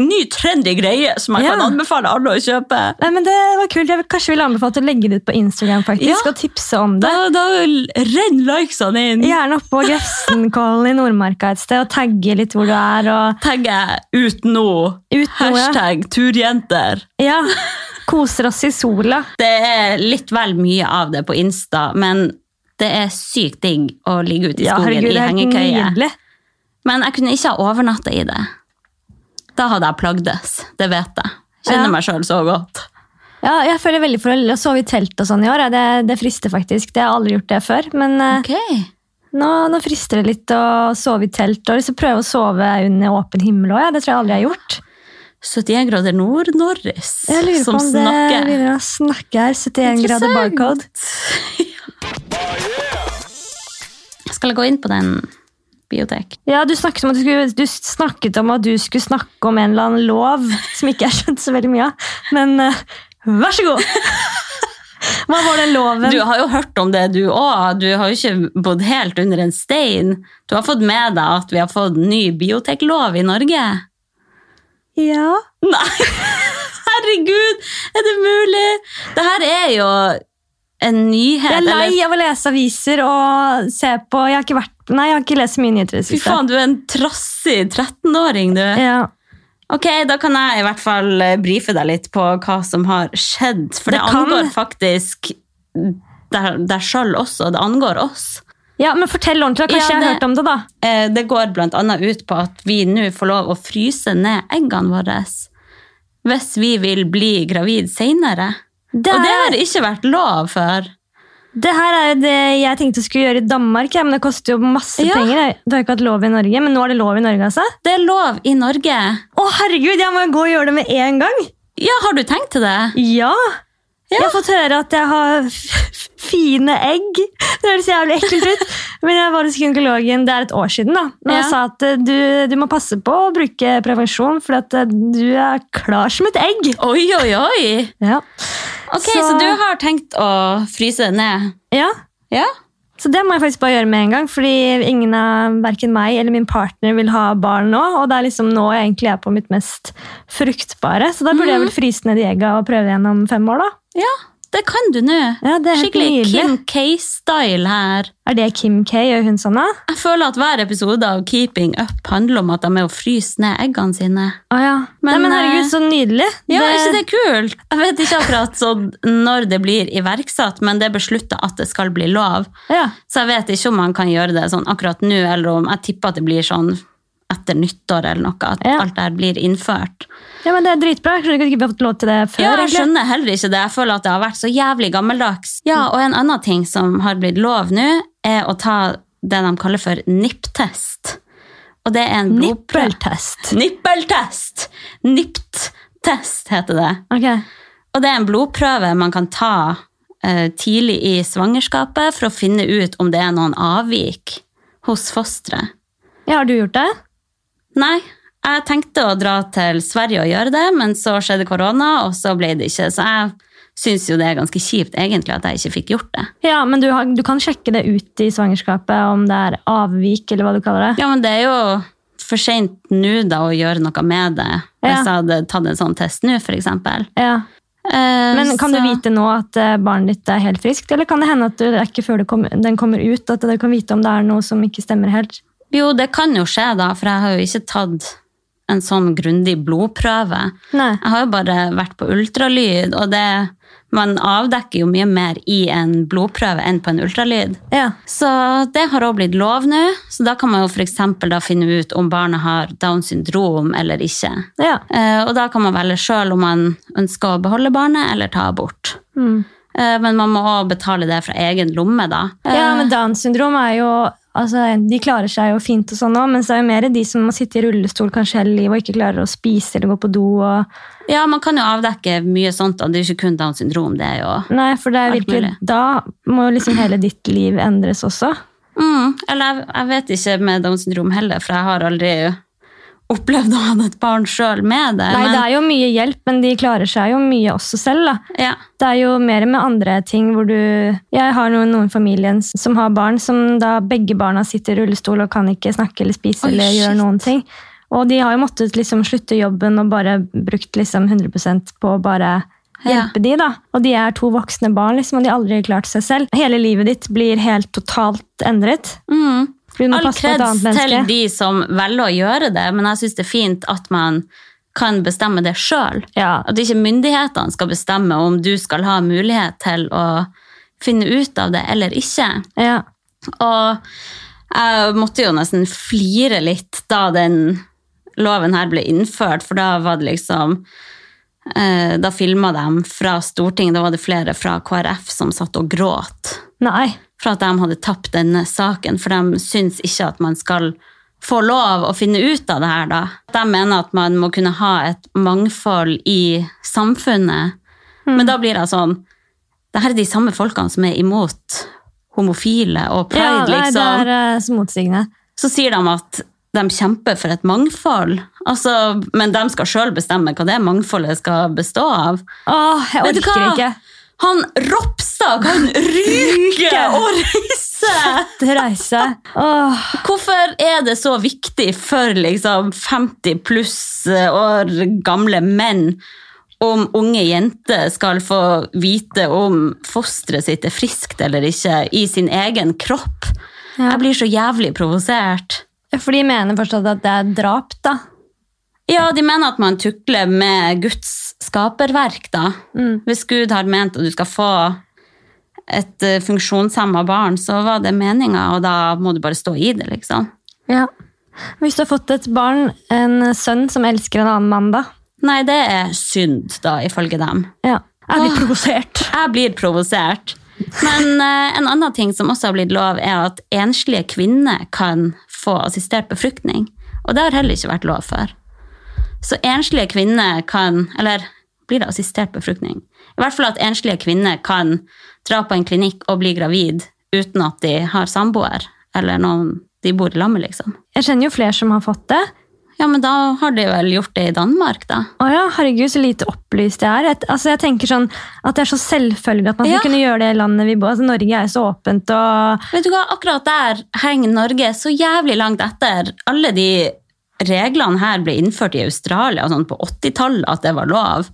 S2: ny, ny trendy greie som jeg
S1: Ja.
S2: kan anbefale alle å kjøpe.
S1: Nei, men det var kult. Jeg vil, kanskje vil anbefale til å legge det ut på Instagram faktisk,
S2: Ja.
S1: og tipse om det.
S2: Da, da renner likesene inn.
S1: Gjerne oppå Grefsenkollen i Nordmarka et sted, og tagge litt hvor du er. og
S2: Tagget ut nå.
S1: ut noe.
S2: Hashtag turjenter.
S1: Ja, Koser oss i sola.
S2: Det er litt vel mye av det på Insta, men det er sykt digg å ligge ute i
S1: Ja,
S2: skogen
S1: herregud, det
S2: i
S1: er helt
S2: hengekøye.
S1: nydelig.
S2: Men jeg kunne ikke ha overnatta i det. Da hadde jeg plagdes. Det vet jeg. Kjenner
S1: Ja.
S2: meg sjøl så godt.
S1: Ja, jeg føler veldig for å sove i telt og sånn i år. ja. Det, det frister faktisk. Det har jeg aldri gjort det før. Men eh, nå, nå frister det litt å sove i telt og liksom prøve å sove under åpen himmel òg. Ja. Det tror jeg aldri jeg har gjort.
S2: 71 grader nord-Norris
S1: Jeg lurer
S2: som
S1: på om det
S2: snakker.
S1: begynner å snakke her. 71 grader
S2: Interessant.
S1: barcode.
S2: Skal jeg gå inn på den biotek?
S1: Ja, du snakket, om at du, skulle, du snakket om at du skulle snakke om en eller annen lov som ikke jeg skjønte så veldig mye av. Men eh, vær så god! Hva var den loven?
S2: Du har jo hørt om det, du òg. Du har jo ikke bodd helt under en stein. Du har fått med deg at vi har fått ny bioteklov i Norge?
S1: Ja.
S2: Nei! Herregud, er det mulig? Det her er jo en nyhet.
S1: Jeg er
S2: eller-
S1: lei av å lese aviser og se på Jeg har ikke, vært, nei, jeg har ikke lest så mye nyheter i det
S2: Fy
S1: siste.
S2: faen, du er en trassig 13-åring, du.
S1: Ja.
S2: Ok, Da kan jeg i hvert fall eh, brife deg litt på hva som har skjedd. For det,
S1: Det kan-
S2: angår faktisk deg deg sjøl også. Det angår oss.
S1: ja, men fortell ordentlig. da. Kanskje
S2: Ja,
S1: jeg har
S2: det-
S1: hørt om det, da.
S2: Eh, Det går bl.a. ut på at vi nå får lov å fryse ned eggene våre hvis vi vil bli gravid senere.
S1: Det,
S2: Og det
S1: er,
S2: har ikke vært lov før.
S1: det her er jo det jeg tenkte jeg skulle gjøre i Danmark, ja, men det koster jo masse
S2: Ja.
S1: penger. Du har ikke hatt lov i Norge, men nå er det lov i Norge, altså?
S2: Det er lov i Norge.
S1: Å, herregud, jeg må jo gå og gjøre det med en gang!
S2: Ja, har du tenkt til det?
S1: Ja! Jeg har fått høre at jeg har f- fine egg. Det høres jævlig ekkelt ut. Men jeg var hos gynekologen det er et år siden. da. Og
S2: Ja.
S1: jeg sa at eh, du, du må passe på å bruke prevensjon, for at eh, du er klar som et egg.
S2: Oi, oi, oi!
S1: Ja.
S2: Ok, så,
S1: Så-
S2: du har tenkt å fryse det ned?
S1: ja.
S2: Ja.
S1: Så det må jeg faktisk bare gjøre med en gang, fordi ingen av hverken meg eller min partner vil ha barn nå. Og det er liksom nå jeg egentlig er på mitt mest fruktbare. Så da burde jeg vel fryse ned de egga og prøve igjen om fem år, da.
S2: Ja, det kan du nå.
S1: Ja, det er helt
S2: Skikkelig
S1: nydelig.
S2: Kim K-style her.
S1: Er det Kim K? Gjør hun sånn, da?
S2: Jeg føler at hver episode av Keeping Up handler om at de er å fryse ned eggene sine.
S1: Å ja.
S2: Men,
S1: Nei, men herregud,
S2: eh,
S1: så nydelig.
S2: Ja,
S1: Det-
S2: er ikke det kult? Jeg vet ikke akkurat sånn når det blir iverksatt, men det er beslutta at det skal bli lov.
S1: Ja.
S2: Så jeg vet ikke om man kan gjøre det sånn akkurat nå, eller om jeg tipper at det blir sånn etter nyttår eller noe, at
S1: Ja.
S2: alt det her blir innført.
S1: ja, men det er dritbra. Jeg skjønner ikke at vi ikke har fått lov til det før.
S2: Ja, jeg
S1: egentlig.
S2: skjønner heller ikke det. Jeg føler at det har vært så jævlig gammeldags. Ja, og en annen ting som har blitt lov nå, er å ta det de kaller for NIPP-test. Og det er en blodprøve.
S1: Nippeltest.
S2: Nippeltest! NIPT-test heter det.
S1: Ok.
S2: Og det er en blodprøve man kan ta eh, tidlig i svangerskapet for å finne ut om det er noen avvik hos fosteret.
S1: Ja, har du gjort det?
S2: Nei, jeg tenkte å dra til Sverige og gjøre det, men så skjedde korona, og så ble det ikke. Så jeg syns jo det er ganske kjipt egentlig at jeg ikke fikk gjort det.
S1: Ja, men du, har, du kan sjekke det ut i svangerskapet, om det er avvik, eller hva du kaller det.
S2: Ja, men det er jo for seint nå da å gjøre noe med det,
S1: Ja.
S2: hvis jeg hadde tatt en sånn test nå, Eh, f.eks.
S1: Ja. Men kan du vite nå at eh, barnet ditt er helt friskt, eller kan det hende at du, det er ikke før det kom, den kommer ut, at du kan vite om det er noe som ikke stemmer helt?
S2: Jo, det kan jo skje, da, for jeg har jo ikke tatt en sånn grundig blodprøve.
S1: Nei.
S2: Jeg har jo bare vært på ultralyd, og det, man avdekker jo mye mer i en blodprøve enn på en ultralyd.
S1: Ja.
S2: Så det har også blitt lov nå, så da kan man jo for eksempel da finne ut om barnet har Downs syndrom eller ikke.
S1: Ja.
S2: Eh, Og da kan man velge selv om man ønsker å beholde barnet eller ta abort.
S1: Mm.
S2: Eh, Men man må også betale det fra egen lomme da. Eh,
S1: Ja, men Downs syndrom er jo altså, De klarer seg jo fint, og sånn også, mens det er jo mer de som må sitte i rullestol kanskje hele livet og ikke klarer å spise eller gå på do. Og...
S2: Ja, man kan jo avdekke mye sånt, og det er jo ikke kun Downs syndrom, det er jo...
S1: Nei, for det er
S2: Alt
S1: virkelig,
S2: mulig.
S1: Da må liksom hele ditt liv endres også.
S2: Mm, eller jeg, jeg vet ikke med Downs syndrom heller, for jeg har aldri opplevde han et barn sjøl med det.
S1: Nei,
S2: men-
S1: det er jo mye hjelp, men de klarer seg jo mye også selv. da.
S2: ja.
S1: Det er jo mer med andre ting hvor du Jeg har noen, noen i familien som har barn som da begge barna sitter i rullestol og kan ikke snakke eller spise
S2: Oi,
S1: eller gjøre
S2: shit.
S1: noen ting. Og de har jo måttet liksom slutte jobben og bare brukt liksom 100 på å bare
S2: Ja.
S1: hjelpe de da. Og de er to voksne barn, liksom, og de har aldri klart seg selv. Hele livet ditt blir helt totalt endret.
S2: Mm.
S1: For du må
S2: All
S1: passe på et
S2: kreds
S1: annet
S2: til
S1: menneske.
S2: de som velger å gjøre det, men jeg syns det er fint at man kan bestemme det sjøl.
S1: Ja,
S2: At ikke myndighetene skal bestemme om du skal ha mulighet til å finne ut av det eller ikke.
S1: ja.
S2: Og jeg måtte jo nesten flire litt da den loven her ble innført, for da var det liksom eh, Da filma de fra Stortinget, da var det flere fra KrF som satt og gråt
S1: Nei.
S2: for at de hadde tapt denne saken, for de syns ikke at man skal få lov å finne ut av det her, da. De mener at man må kunne ha et mangfold i samfunnet.
S1: Mm.
S2: Men da blir jeg sånn Det her er de samme folkene som er imot homofile og pride,
S1: ja, nei, det
S2: liksom.
S1: er eh, så motsigende.
S2: Så sier de at de kjemper for et mangfold, altså, men de skal sjøl bestemme hva det mangfoldet skal bestå av.
S1: Åh, jeg
S2: Vet du
S1: orker
S2: hva?
S1: ikke.
S2: Han Ropstad kan ryke
S1: Ryke!
S2: og reise!
S1: Det reiser. Åh.
S2: Hvorfor er det så viktig for liksom 50 pluss år gamle menn om unge jenter skal få vite om fosteret sitt er friskt eller ikke i sin egen kropp?
S1: Ja.
S2: Jeg blir så jævlig provosert.
S1: For de mener forstått at det er drap, da.
S2: Ja, de mener at man tukler med Guds skaperverk, da.
S1: Mm.
S2: Hvis Gud har ment at du skal få et eh, funksjonshemma barn, så var det meninga, og da må du bare stå i det, liksom.
S1: Ja. Hvis du har fått et barn, en sønn som elsker en annen mann, da.
S2: Nei, det er synd, da, ifølge dem.
S1: Ja. Ah. Jeg blir
S2: Åh.
S1: provosert.
S2: Jeg blir provosert. Men eh, en annen ting som også har blitt lov, er at enslige kvinner kan få assistert befruktning. Og det har heller ikke vært lov før. Så enslige kvinner kan Eller blir det assistert befruktning? I hvert fall at enslige kvinner kan dra på en klinikk og bli gravid uten at de har samboer eller noen de bor i lag med, liksom.
S1: Jeg kjenner jo flere som har fått det.
S2: Ja, men da har de vel gjort det i Danmark, da.
S1: Å ja, herregud, så lite opplyst jeg er. Et, altså, jeg tenker sånn At det er så selvfølgelig at man
S2: Ja.
S1: skal kunne gjøre det i landet vi bor altså, Norge er jo så åpent og
S2: Vet du hva, akkurat der henger Norge så jævlig langt etter. Alle de reglene her ble innført i Australia og sånn på 80-tallet, at det var lov.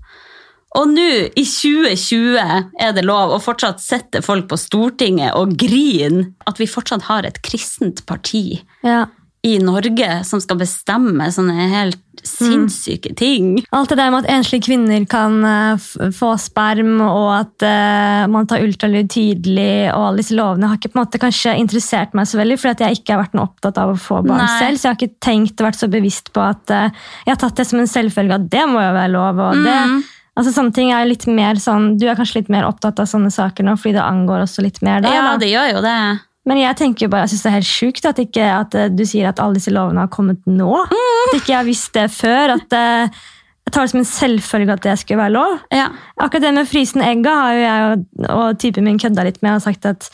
S2: Og nå, i 2020, er det lov, og fortsatt sitter folk på Stortinget og griner at vi fortsatt har et kristent parti
S1: ja.
S2: i Norge som skal bestemme sånne helt sinnssyke ting.
S1: Alt det der med at enslige kvinner kan eh, f få sperm, og at eh, man tar ultralyd tidlig, og alle disse lovene har ikke på en måte kanskje interessert meg så veldig, fordi at jeg ikke har vært noe opptatt av å få barn
S2: Nei.
S1: selv. Så jeg har ikke tenkt og vært så bevisst på at eh, jeg har tatt det som en selvfølge at det må jo være lov. og det...
S2: Mm.
S1: Altså Sånne ting er jo litt mer sånn, Du er kanskje litt mer opptatt av sånne saker nå, fordi det angår også litt mer deg.
S2: Ja,
S1: da.
S2: det gjør jo det.
S1: Men jeg tenker jo bare, jeg synes det er helt sjukt at, ikke, at eh, du sier at alle disse lovene har kommet nå. At ikke jeg har visst det før. At eh, jeg tar det som en selvfølge at det skulle være lov.
S2: Ja.
S1: Akkurat det med frysende egga har jo jeg og, og typen min kødda litt med og sagt at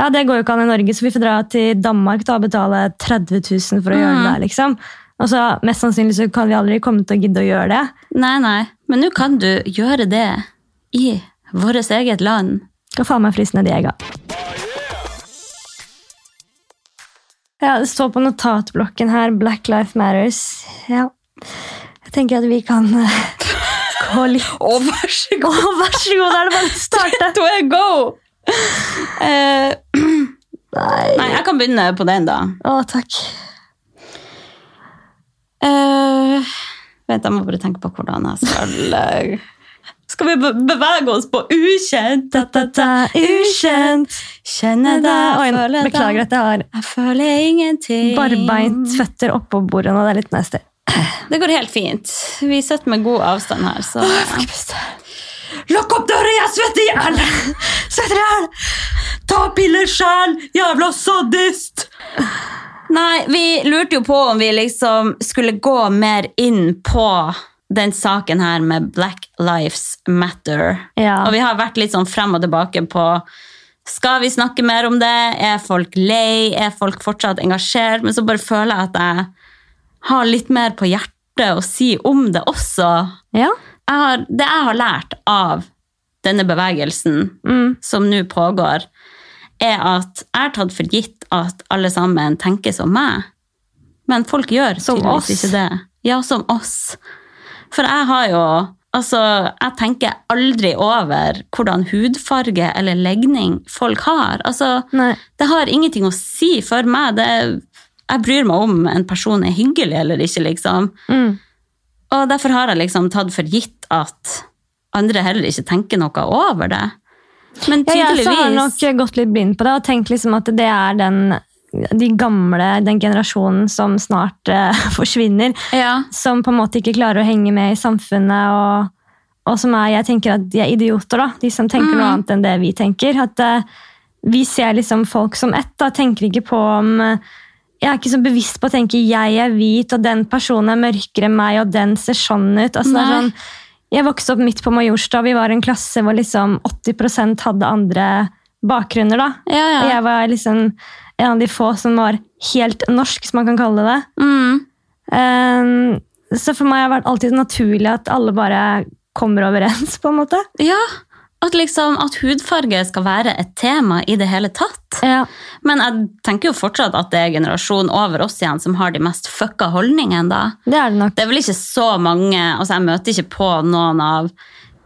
S1: ja, det går jo ikke an i Norge, så vi får dra til Danmark da, og betale 30 000 for å gjøre det der. liksom. Og så Mest sannsynlig så kan vi aldri komme til å gidde å gjøre det.
S2: Nei, nei. Men nå kan du gjøre det i vårt eget land.
S1: Skal faen meg fryse ned de egga. Ja, det står på notatblokken her 'Black Life Matters'. Ja. Jeg tenker at vi kan eh, gå litt
S2: Å, vær så
S1: Å, vær så god, da er det bare å starte!
S2: To er go!
S1: Nei.
S2: Eh, nei, jeg kan begynne på den, da.
S1: Å, takk.
S2: Eh, vent, jeg må bare tenke på hvordan jeg skal eh, Skal vi be bevege oss på ukjent?
S1: Da-da-da, ukjent.
S2: Kjenne deg,
S1: Oi,
S2: føle deg.
S1: beklager at jeg har
S2: Jeg føler ingenting.
S1: barbeint føtter oppå bordet nå. Det er litt nasty.
S2: Det går helt fint. Vi sitter med god avstand her, så
S1: Lukk opp døra, jeg svetter i hjel! Svetter i hjel!
S2: Ta piller sjæl, jævla sadist! Nei, vi lurte jo på om vi liksom skulle gå mer inn på den saken her med Black Lives Matter.
S1: Ja.
S2: Og vi har vært litt sånn frem og tilbake på skal vi snakke mer om det? Er folk lei? Er folk fortsatt engasjert? Men så bare føler jeg at jeg har litt mer på hjertet å si om det også.
S1: Ja.
S2: Jeg har, det jeg har lært av denne bevegelsen,
S1: Mm.
S2: som nå pågår, er at jeg har tatt for gitt at alle sammen tenker som meg. Men folk gjør
S1: Som
S2: tydeligvis
S1: oss.
S2: ikke det. Ja, som oss. For jeg har jo Altså, jeg tenker aldri over hvordan hudfarge eller legning folk har. Altså,
S1: Nei.
S2: det har ingenting å si for meg. Det, jeg bryr meg om en person er hyggelig eller ikke, liksom.
S1: Mm.
S2: Og derfor har jeg liksom tatt for gitt at andre heller ikke tenker noe over det. Men
S1: Ja, jeg så har nok
S2: tydeligvis
S1: gått litt blind på det og tenkt liksom at det er den, de gamle, den generasjonen som snart eh, forsvinner,
S2: ja,
S1: som på en måte ikke klarer å henge med i samfunnet, og, og som er, jeg tenker at de er idioter, da. De som tenker noe
S2: Mm.
S1: annet enn det vi tenker. At eh, vi ser liksom folk som ett, da. Tenker ikke på om eh, Jeg er ikke så bevisst på å tenke jeg er hvit, og den personen er mørkere enn meg, og den ser sånn ut. Altså, det er
S2: Nei.
S1: sånn, jeg vokste opp midt på Majorstad. Vi var en klasse hvor liksom 80 hadde andre bakgrunner. da.
S2: ja,
S1: Og
S2: ja.
S1: jeg var liksom en av de få som var helt norsk, som man kan kalle det.
S2: Mm,
S1: Ehm, så for meg har det vært alltid naturlig at alle bare kommer overens, på en måte.
S2: ja. At, liksom, at hudfarge skal være et tema i det hele tatt.
S1: Ja.
S2: Men jeg tenker jo fortsatt at det er generasjonen over oss igjen som har de mest fucka holdningene. da.
S1: Det er det nok.
S2: Det er vel ikke så mange altså Jeg møter ikke på noen av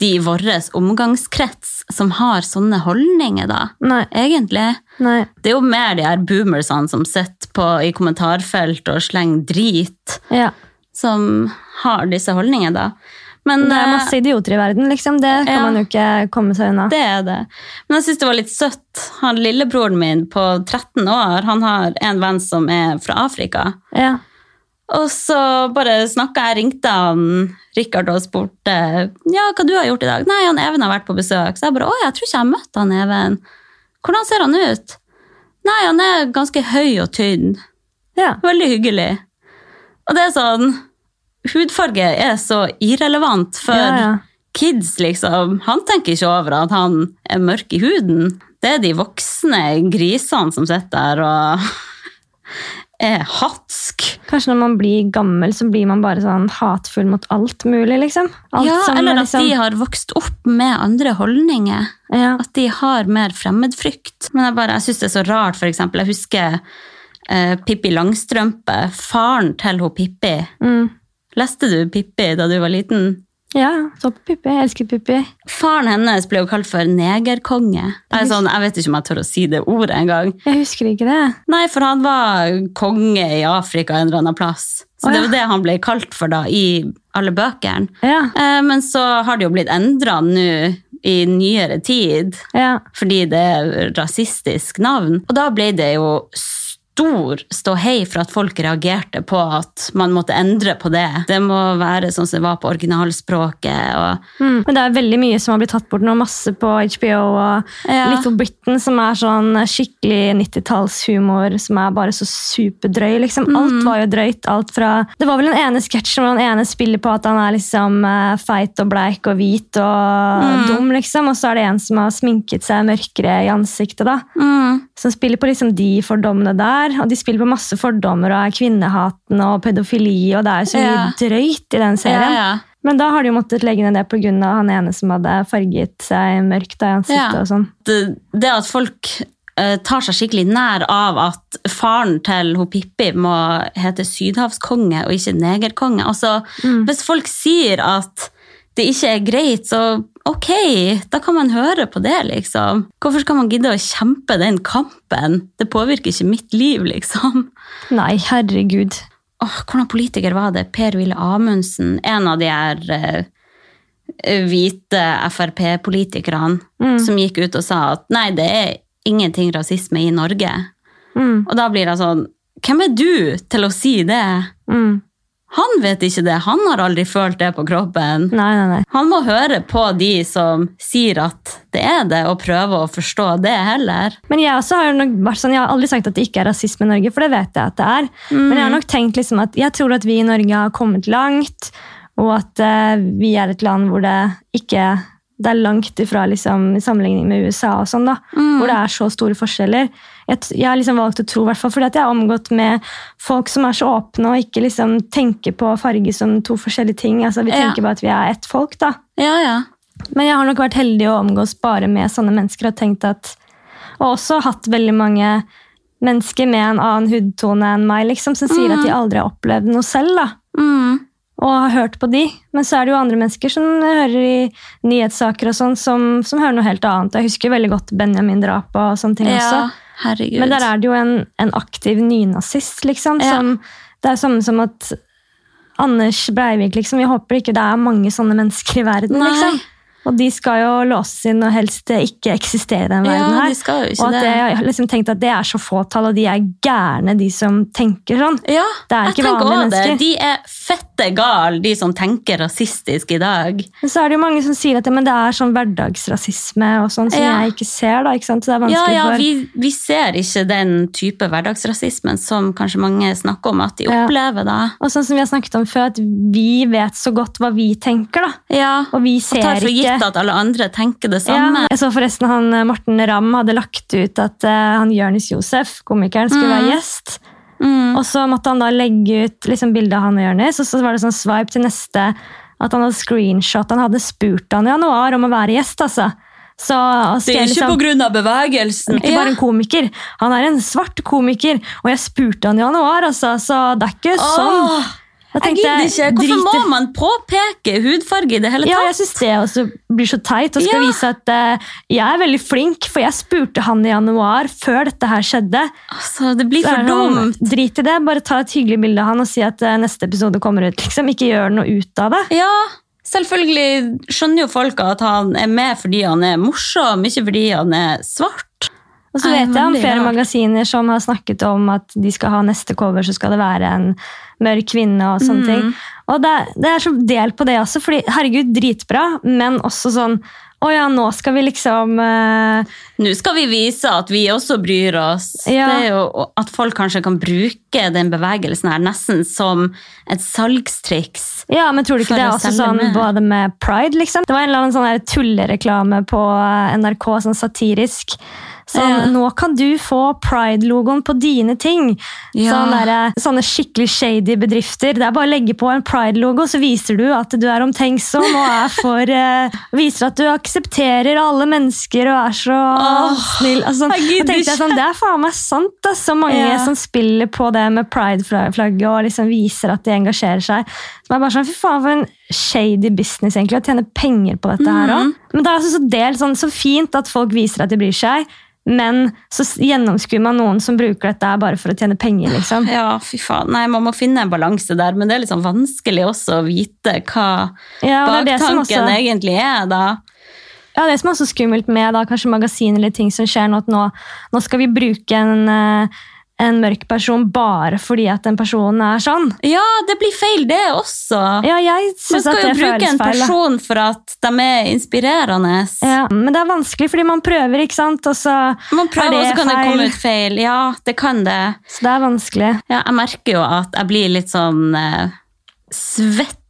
S2: de i vår omgangskrets som har sånne holdninger, da.
S1: Nei.
S2: Egentlig.
S1: nei.
S2: Det er jo mer de her boomersene som sitter på, i kommentarfelt og slenger drit,
S1: Ja.
S2: som har disse holdningene, da. Men
S1: Det er
S2: eh,
S1: masse idioter i verden, liksom. Det kan
S2: Ja.
S1: man jo ikke komme seg unna.
S2: det er det. Men jeg syns det var litt søtt. Han lillebroren min på 13 år, han har en venn som er fra Afrika.
S1: Ja.
S2: Og så bare snakka jeg, ringte han Rikard og spurte ja, hva du har gjort i dag. Nei, han Even har vært på besøk. Så jeg bare å, jeg tror ikke jeg har møtt han Even. Hvordan ser han ut? Nei, han er ganske høy og tynn.
S1: Ja.
S2: Veldig hyggelig. Og det er sånn Hudfarge er så irrelevant for
S1: Ja, ja.
S2: kids, liksom. Han tenker ikke over at han er mørk i huden. Det er de voksne grisene som sitter der og er hatsk.
S1: Kanskje når man blir gammel, så blir man bare sånn hatfull mot alt mulig, liksom. Alt
S2: ja,
S1: som
S2: eller at
S1: liksom,
S2: de har vokst opp med andre holdninger.
S1: ja.
S2: At de har mer fremmedfrykt. Men jeg, bare- jeg syns det er så rart, for eksempel. Jeg husker eh, Pippi Langstrømpe. Faren til hun Pippi.
S1: Mm.
S2: Leste du Pippi da du var liten?
S1: ja, så på Pippi. Jeg elsker Pippi.
S2: Faren hennes ble jo kalt for negerkonge. Jeg, er sånn, jeg vet ikke om jeg tør å si det ordet engang.
S1: Jeg husker ikke det.
S2: Nei, for han var konge i Afrika en eller annen plass.
S1: Å,
S2: Så det
S1: ja.
S2: var det han ble kalt for da, i alle bøkene.
S1: Ja,
S2: Eh, Men så har det jo blitt endra nå i nyere tid,
S1: ja.
S2: fordi det er rasistisk navn. Og da ble det jo stor ståhei for at folk reagerte på at man måtte endre på det. Det må være sånn som det var på originalspråket. og...
S1: Mm. Men det er veldig mye som har blitt tatt bort nå. Masse på HBO og
S2: Ja.
S1: Little Britain, som er sånn skikkelig 90-tallshumor som er bare så superdrøy. liksom.
S2: Mm.
S1: Alt var jo drøyt. alt fra... Det var vel den ene sketsjen hvor han ene spiller på at han er liksom eh, feit og bleik og hvit og
S2: Mm.
S1: dum, liksom. Og så er det en som har sminket seg mørkere i ansiktet, da.
S2: Mm.
S1: Som spiller på liksom de fordommene der. Og de spiller på masse fordommer og er kvinnehaten og pedofili, og det er jo så mye
S2: Ja.
S1: drøyt i den serien.
S2: Ja, ja.
S1: Men da har de jo måttet legge ned det pga. han ene som hadde farget seg mørkt da i ansiktet.
S2: Ja.
S1: og sånn.
S2: det, det at folk eh, tar seg skikkelig nær av at faren til hun Pippi må hete sydhavskonge og ikke negerkonge. Altså, Hvis folk sier at det ikke er greit, så ok, da kan man høre på det, liksom. Hvorfor skal man gidde å kjempe den kampen? Det påvirker ikke mitt liv, liksom.
S1: Nei, herregud.
S2: Åh, hvordan politiker var det? Per Wille Amundsen, en av de her eh, hvite Frp-politikerne,
S1: Mm.
S2: som gikk ut og sa at nei, det er ingenting rasisme i Norge.
S1: Mm,
S2: Og da blir det sånn, hvem er du til å si det?
S1: mm.
S2: Han vet ikke det, han har aldri følt det på kroppen.
S1: Nei, nei, nei.
S2: Han må høre på de som sier at det er det, og prøve å forstå det heller.
S1: Men jeg, også har jo nok vært sånn, jeg har aldri sagt at det ikke er rasisme i Norge, for det vet jeg at det er. Men jeg har nok tenkt liksom at jeg tror at vi i Norge har kommet langt, og at eh, vi er et land hvor det ikke Det er langt ifra liksom, i sammenligning med USA, og sånn da, hvor det er så store forskjeller. Jeg, t- jeg har liksom valgt å tro, hvertfall fordi at jeg har omgått med folk som er så åpne og ikke liksom tenker på farge som to forskjellige ting. Altså, vi
S2: Ja.
S1: tenker bare at vi er ett folk. da.
S2: Ja, ja.
S1: Men jeg har nok vært heldig å omgås bare med sånne mennesker og tenkt at Og også hatt veldig mange mennesker med en annen hudtone enn meg, liksom, som sier at de aldri har opplevd noe selv, da.
S2: Mm.
S1: Og har hørt på de. Men så er det jo andre mennesker som hører i nyhetssaker og sånn, som, som hører noe helt annet. Jeg husker veldig godt Benjamin-drapet og sånne ting også.
S2: ja. Herregud.
S1: Men der er det jo en, en aktiv nynazist, liksom.
S2: Ja.
S1: Som, det er samme som at Anders Breivik, liksom. Vi håper ikke det er mange sånne mennesker i verden,
S2: Nei.
S1: liksom. Og de skal jo låses inn og helst eh, ikke eksistere i den
S2: ja,
S1: verden her.
S2: de skal jo
S1: og
S2: ikke
S1: at
S2: det.
S1: det, jeg har liksom tenkt at det er så fåtall, og de er gærne, de som tenker sånn.
S2: Ja,
S1: Det er
S2: jeg
S1: ikke
S2: tenker
S1: vanlige
S2: også det.
S1: mennesker.
S2: De er fette gale, de som tenker rasistisk i dag.
S1: Men så er det jo mange som sier at ja, men det er sånn hverdagsrasisme og sånn som
S2: Ja.
S1: jeg ikke ser. da, ikke sant? Så det er
S2: Ja,
S1: vanskelig
S2: ja,
S1: for...
S2: vi, vi ser ikke den type hverdagsrasismen som kanskje mange snakker om at de
S1: Ja.
S2: opplever, da.
S1: Og sånn som vi har snakket om før, at vi vet så godt hva vi tenker. da.
S2: Ja,
S1: Og vi
S2: og
S1: ser
S2: tar for
S1: ikke
S2: gitt at alle andre tenker det
S1: Ja,
S2: samme.
S1: jeg Sånn, så forresten han eh, Morten Ramm hadde lagt ut at eh, han Jonis Josef, komikeren, skulle være gjest.
S2: Mm.
S1: Og så måtte han da legge ut liksom, bilde av han og Jonis, og så var det sånn swipe til neste at han hadde screenshot. Han hadde spurt han i januar om å være gjest, altså. Så, og skrev liksom,
S2: grunn av bevegelsen.
S1: ikke bare en komiker, han er en svart komiker, og jeg spurte han i januar, altså, så det er ikke sånn.
S2: Åh,
S1: Jeg
S2: jeg gidder ikke. Hvorfor
S1: driter-
S2: må man påpeke hudfarge i det hele
S1: Ja,
S2: tatt?
S1: jeg syns det også blir så teit. Og skal
S2: Ja.
S1: vise at eh, jeg er veldig flink, for jeg spurte han i januar, før dette her skjedde.
S2: Altså, det blir
S1: Så er
S2: for
S1: det sånn,
S2: dumt.
S1: Drit i det, bare ta et hyggelig bilde av han og si at eh, neste episode kommer ut. liksom. Ikke gjør noe ut av det.
S2: Ja, selvfølgelig skjønner jo folk at han er med fordi han er morsom, ikke fordi han er svart.
S1: Og så
S2: Nei,
S1: vet jeg om
S2: veldig
S1: flere
S2: rart.
S1: magasiner som har snakket om at de skal ha neste cover, så skal det være en mørk kvinne og sånne
S2: Mm.
S1: ting. Og det, det er så del på det også, fordi herregud, dritbra, men også sånn å ja, nå skal vi liksom eh,
S2: Nå skal vi vise at vi også bryr oss.
S1: Ja.
S2: Det er jo og At folk kanskje kan bruke den bevegelsen her nesten som et salgstriks.
S1: Ja, men tror du ikke
S2: For
S1: det er
S2: å
S1: også
S2: selge
S1: sånn
S2: mer.
S1: både med pride, liksom? Det var en eller annen sånn her tullereklame på eh, NRK, sånn satirisk. Sånn,
S2: Ja.
S1: nå kan du få pride-logoen på dine ting.
S2: Ja.
S1: Sånn derre- sånne skikkelig shady bedrifter. Det er bare å legge på en pride-logo, så viser du at du er omtenksom og er for eh, Viser at du aksepterer alle mennesker og er så
S2: Åh,
S1: snill. Altså, sånn,
S2: jeg
S1: da
S2: gidder
S1: tenkte jeg sånn, Det er faen meg sant, da. Så mange
S2: Ja.
S1: som spiller på det med pride-flagget og liksom viser at de engasjerer seg. Som er bare sånn, Fy faen, for en shady business egentlig, å tjene penger på dette
S2: Mhm.
S1: her òg. Men det er altså så, del, sånn, så fint at folk viser at de bryr seg, men så s- gjennomskuer man noen som bruker dette her bare for å tjene penger. liksom.
S2: Ja, fy faen. Nei, man må finne en balanse der, men det er liksom vanskelig også å vite hva
S1: Ja, og det er det som
S2: baktanken
S1: også...
S2: egentlig er, da.
S1: Ja, Det som er så skummelt med da, kanskje magasin eller ting som skjer nå, at nå, nå skal vi bruke en, eh, en mørk person bare fordi at den personen er sånn.
S2: Ja, det blir feil, det også.
S1: Ja, jeg
S2: Man
S1: synes at
S2: Ah. skal
S1: det
S2: jo bruke
S1: føles
S2: en
S1: feil. da.
S2: person for at de er inspirerende.
S1: Ja, men det er vanskelig fordi man prøver, ikke sant? Og så,
S2: Man prøver,
S1: Er det
S2: og så kan det
S1: feil?
S2: komme ut feil. Ja, det kan det.
S1: så det er vanskelig.
S2: Ja, jeg merker jo at jeg blir litt sånn eh, svett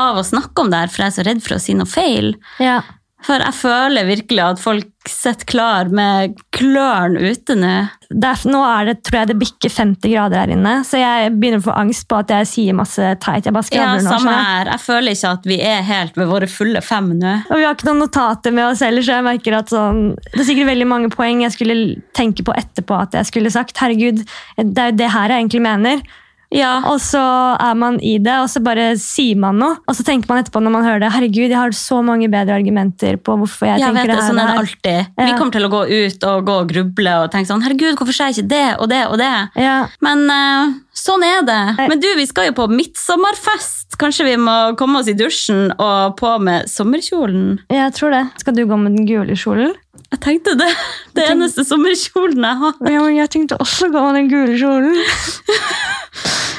S2: av å snakke om det her, for jeg er så redd for å si noe feil.
S1: Ja.
S2: For jeg føler virkelig at folk sitter klar med klørne ute nå.
S1: Det er, nå er det, tror jeg det bikker 50 grader her inne, så jeg begynner å få angst på at jeg sier masse teit. Jeg bare
S2: Ja,
S1: skravler nå.
S2: samme
S1: skjønner jeg.
S2: her. Jeg føler ikke at vi er helt ved våre fulle fem nå.
S1: Og vi har ikke noen notater med oss heller, så jeg merker at sånn, det er sikkert veldig mange poeng jeg skulle tenke på etterpå at jeg skulle sagt. Herregud, det er jo det her jeg egentlig mener.
S2: Ja,
S1: Og så er man i det, og så bare sier man noe. Og så tenker man etterpå når man hører det, herregud, jeg har så mange bedre argumenter på hvorfor jeg,
S2: jeg
S1: tenker
S2: vet det,
S1: det her.
S2: sånn
S1: og det
S2: er det
S1: her.
S2: alltid.
S1: Ja.
S2: Vi kommer til å gå ut og gå og gruble og tenke sånn, herregud, hvorfor skjer ikke det og det og det?
S1: Ja.
S2: Men eh, sånn er det.
S1: Nei.
S2: Men du, vi skal jo på midtsommerfest. Kanskje vi må komme oss i dusjen og på med sommerkjolen?
S1: Jeg tror det. Skal du gå med den gule kjolen?
S2: Jeg tenkte det. Det
S1: tenk-
S2: eneste sommerkjolen jeg har.
S1: Ja, men jeg tenkte også å gå med den gule kjolen.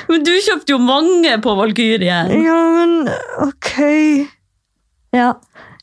S2: Men du kjøpte jo mange på Valkyrien.
S1: Ja, men ok. Mm. Ja.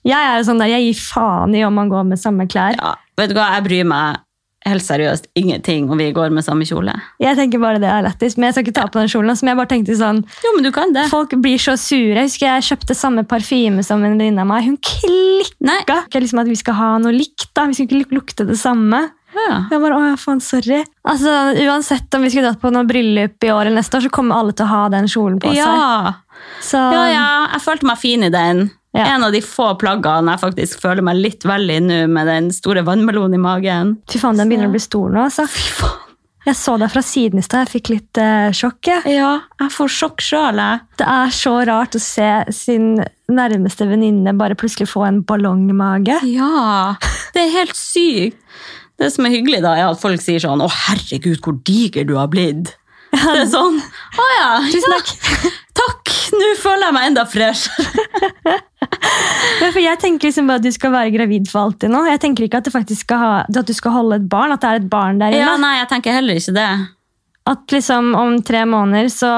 S1: Jeg er jo sånn der, jeg gir faen i om man går med samme klær.
S2: Ja, vet du hva, jeg bryr meg helt seriøst ingenting om vi går med samme kjole.
S1: Jeg tenker bare det er lættis, men jeg skal ikke ta på den kjolen. Som jeg bare tenkte sånn,
S2: Jo, men du kan det.
S1: Folk blir så sure. Jeg husker jeg kjøpte samme parfyme som en venninne av meg. Hun klikka
S2: Nei,
S1: ikke liksom at vi skal ha noe likt. da. Vi skal ikke luk- lukte det samme.
S2: ja.
S1: Jeg bare, åh, faen, sorry. Altså, Uansett om vi skulle dratt på noe bryllup i år eller neste år, så kommer alle til å ha den kjolen på
S2: Ja.
S1: seg. Så,
S2: ja, ja. Jeg følte meg fin i den.
S1: Ja.
S2: En av de få plaggene jeg faktisk føler meg litt vel i nå, med den store vannmelonen i magen.
S1: Fy faen, den begynner å bli stor nå. altså.
S2: Fy faen.
S1: Jeg så deg fra siden i stad. Jeg fikk litt eh, sjokk. jeg.
S2: Ja, jeg får sjokk sjøl, jeg.
S1: Det er så rart å se sin nærmeste venninne bare plutselig få en ballongmage.
S2: Ja, det er helt sykt. Det som er hyggelig, da, er at folk sier sånn 'Å, herregud, hvor diger du har blitt'. Det er sånn 'Å ja,
S1: Tusen
S2: ja,
S1: takk.
S2: takk, nå føler jeg meg enda freshere'.
S1: Ja, for jeg tenker liksom bare at du skal være gravid for alltid nå. Jeg tenker ikke at, det faktisk skal ha, at du skal holde et barn, at det er et barn der
S2: Ja,
S1: inne.
S2: nei, jeg tenker heller ikke det.
S1: At liksom om tre måneder så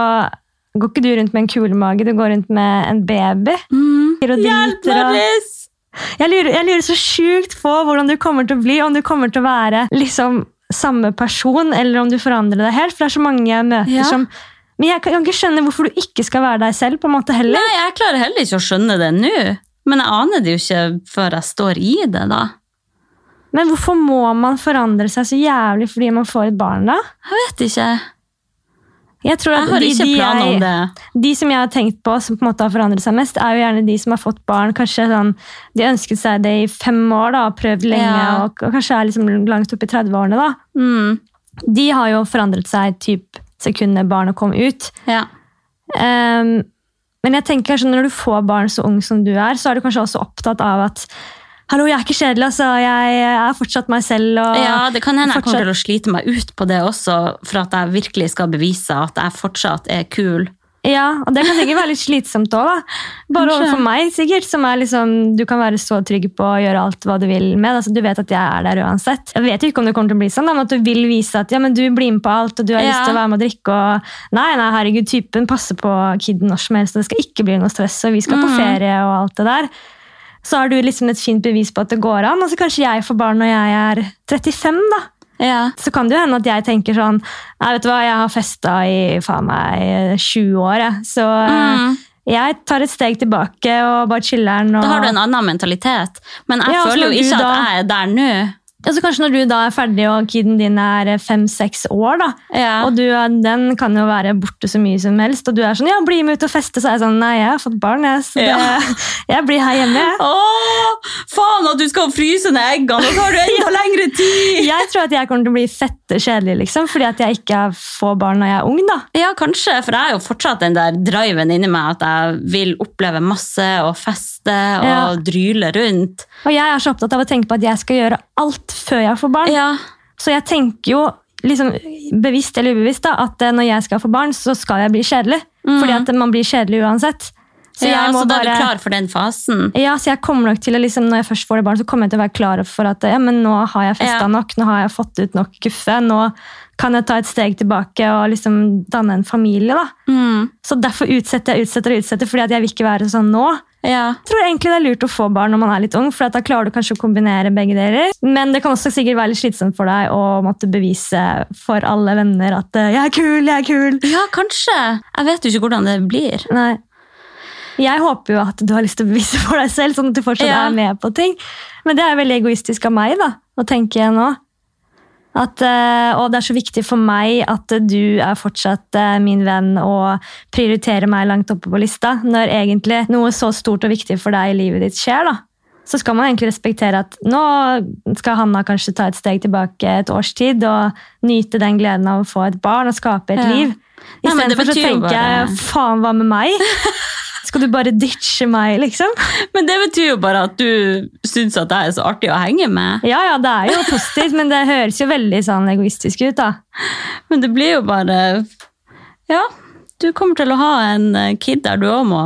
S1: går ikke du rundt med en kulemage, du går rundt med en baby.
S2: Mm.
S1: Og
S2: Hjelp,
S1: driter og-
S2: Norris!
S1: Jeg lurer, jeg lurer så sjukt på hvordan du kommer til å bli, om du kommer til å være liksom samme person, eller om du forandrer deg helt, for det er så mange jeg møter
S2: Ja.
S1: som Men jeg kan, kan ikke skjønne hvorfor du ikke skal være deg selv, på en måte heller.
S2: Nei, jeg klarer heller ikke å skjønne det nå. Men jeg aner det jo ikke før jeg står i det, da.
S1: Men hvorfor må man forandre seg så jævlig fordi man får et barn, da?
S2: Jeg vet ikke.
S1: Jeg tror at
S2: Jeg har
S1: de,
S2: ikke
S1: de
S2: planer
S1: jeg-
S2: om det.
S1: De som jeg har tenkt på som på en måte har forandret seg mest, er jo gjerne de som har fått barn. kanskje sånn, De ønsket seg det i fem år da, og prøvd lenge,
S2: Ja.
S1: og, og kanskje er liksom langt opp i 30-årene. da.
S2: Mm.
S1: De har jo forandret seg typ sekundet barnet kom ut.
S2: Ja.
S1: Ehm, men jeg tenker kanskje når du får barn så ung som du er, så er du kanskje også opptatt av at Hallo, jeg er ikke kjedelig, altså. Jeg er fortsatt meg selv. og...
S2: Ja, det kan hende jeg
S1: fortsatt-
S2: kommer til å slite meg ut på det også, for at jeg virkelig skal bevise at jeg fortsatt er kul.
S1: Ja, og det kan sikkert være litt slitsomt òg. Bare
S2: Kanskje.
S1: overfor meg, sikkert. Som er liksom, du kan være så trygg på å gjøre alt hva du vil med. Altså, du vet at jeg er der uansett. Jeg vet jo ikke om det kommer til å bli sånn, da, men at du vil vise at ja, men du blir med på alt, og du har
S2: Ja.
S1: lyst til å være med og drikke. Og nei, nei, herregud, typen passer på kiden når som helst, og det skal ikke bli noe stress, og vi skal på
S2: Mhm.
S1: ferie og alt det der. Så har du liksom et fint bevis på at det går an. Og så kanskje jeg får barn når jeg er 35, da
S2: Ja.
S1: så kan det jo hende at jeg tenker sånn Nei, vet du hva, jeg har festa i faen meg 20 år, jeg. Så eh,
S2: Mm.
S1: jeg tar et steg tilbake og bare chiller'n. Og...
S2: Da har du en annen mentalitet. Men jeg
S1: Ja, og så
S2: føler
S1: når
S2: jo
S1: du
S2: ikke
S1: da-
S2: at jeg er der nå.
S1: Ja, så kanskje når du da er ferdig og kiden din er fem-seks år, da,
S2: Ja.
S1: og du er, den kan jo være borte så mye som helst, og du er sånn ja, bli med ut og feste, så er jeg sånn nei, jeg har fått barn, jeg, så det,
S2: Ja.
S1: jeg blir her hjemme, jeg.
S2: Åh, faen at du skal fryse ned eggene, og så har du enda lengre tid!
S1: Jeg tror at jeg kommer til å bli fette kjedelig, liksom, fordi at jeg ikke får barn når jeg er ung, da.
S2: Ja, kanskje, for jeg har jo fortsatt den der driven inni meg at jeg vil oppleve masse og feste og
S1: Ja.
S2: dryle rundt.
S1: Og jeg er så opptatt av å tenke på at jeg skal gjøre alt før jeg får barn.
S2: Ja,
S1: Så jeg tenker jo, liksom, bevisst eller ubevisst, da, at eh, når jeg skal få barn, så skal jeg bli kjedelig. Fordi at man blir kjedelig uansett.
S2: så,
S1: jeg
S2: Mhm. ja,
S1: må
S2: så da er
S1: bare-
S2: du klar for den fasen.
S1: Ja, så jeg kommer nok til å, liksom, når jeg først får det barn, så kommer jeg til å være klar for at eh, ja, men nå har jeg festa
S2: Ja.
S1: nok, nå har jeg fått ut nok guffe, nå kan jeg ta et steg tilbake og liksom danne en familie. da.
S2: Mm.
S1: Så derfor utsetter jeg utsetter og utsetter, fordi at jeg vil ikke være sånn nå.
S2: Ja.
S1: Jeg tror egentlig det er lurt å få barn når man er litt ung, for at da klarer du kanskje å kombinere begge deler. Men det kan også sikkert være litt slitsomt for deg å måtte bevise for alle venner at eh, 'jeg er kul, jeg er kul'.
S2: ja, kanskje. Jeg vet jo ikke hvordan det blir.
S1: Nei. Jeg håper jo at du har lyst til å bevise for deg selv, sånn at du fortsatt
S2: Ja.
S1: er med på ting. Men det er veldig egoistisk av meg da, å tenke nå. At, eh, og det er så viktig for meg at eh, du er fortsatt eh, min venn og prioriterer meg langt oppe på lista, når egentlig noe så stort og viktig for deg i livet ditt skjer. da. Så skal man egentlig respektere at nå skal Hanna kanskje ta et steg tilbake et års tid og nyte den gleden av å få et barn og skape et
S2: Ja.
S1: liv.
S2: Nei, men det
S1: Istedenfor så
S2: betyr jo
S1: tenker jeg
S2: bare-
S1: faen, hva med meg? Skal du bare ditche meg, liksom?
S2: Men det betyr jo bare at du syns at jeg er så artig å henge med.
S1: Ja, ja, det er jo positivt, men det høres jo veldig sånn egoistisk ut, da.
S2: Men det blir jo bare Ja, du kommer til å ha en eh, kid der du òg må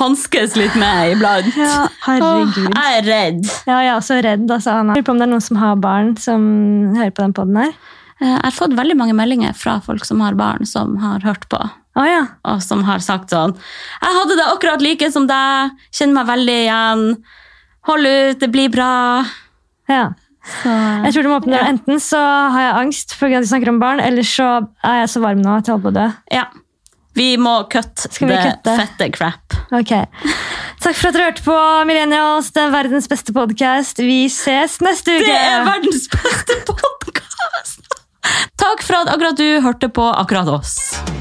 S2: hanskes litt med iblant.
S1: Ja, herregud.
S2: Åh, jeg er redd.
S1: Ja, jeg er også redd, altså, Anna. Lurer på om det er noen som har barn som hører på den podden her.
S2: Eh, Jeg har fått veldig mange meldinger fra folk som har barn, som har hørt på.
S1: Å ja.
S2: Og som har sagt sånn 'Jeg hadde det akkurat like som deg. Kjenner meg veldig igjen. Hold ut, det blir bra.'
S1: ja.
S2: Så, eh,
S1: Jeg tror du må åpne døra. Enten så har jeg angst fordi at de snakker om barn, eller så er jeg så varm nå at jeg holder på å dø.
S2: ja. Vi må kutte
S1: Skal vi
S2: det
S1: kutte?
S2: fette crap.
S1: Ok. Takk for at dere hørte på Millennials, den verdens beste podkast. Vi ses neste uke!
S2: Det er verdens beste podkast! Takk for at akkurat du hørte på akkurat oss.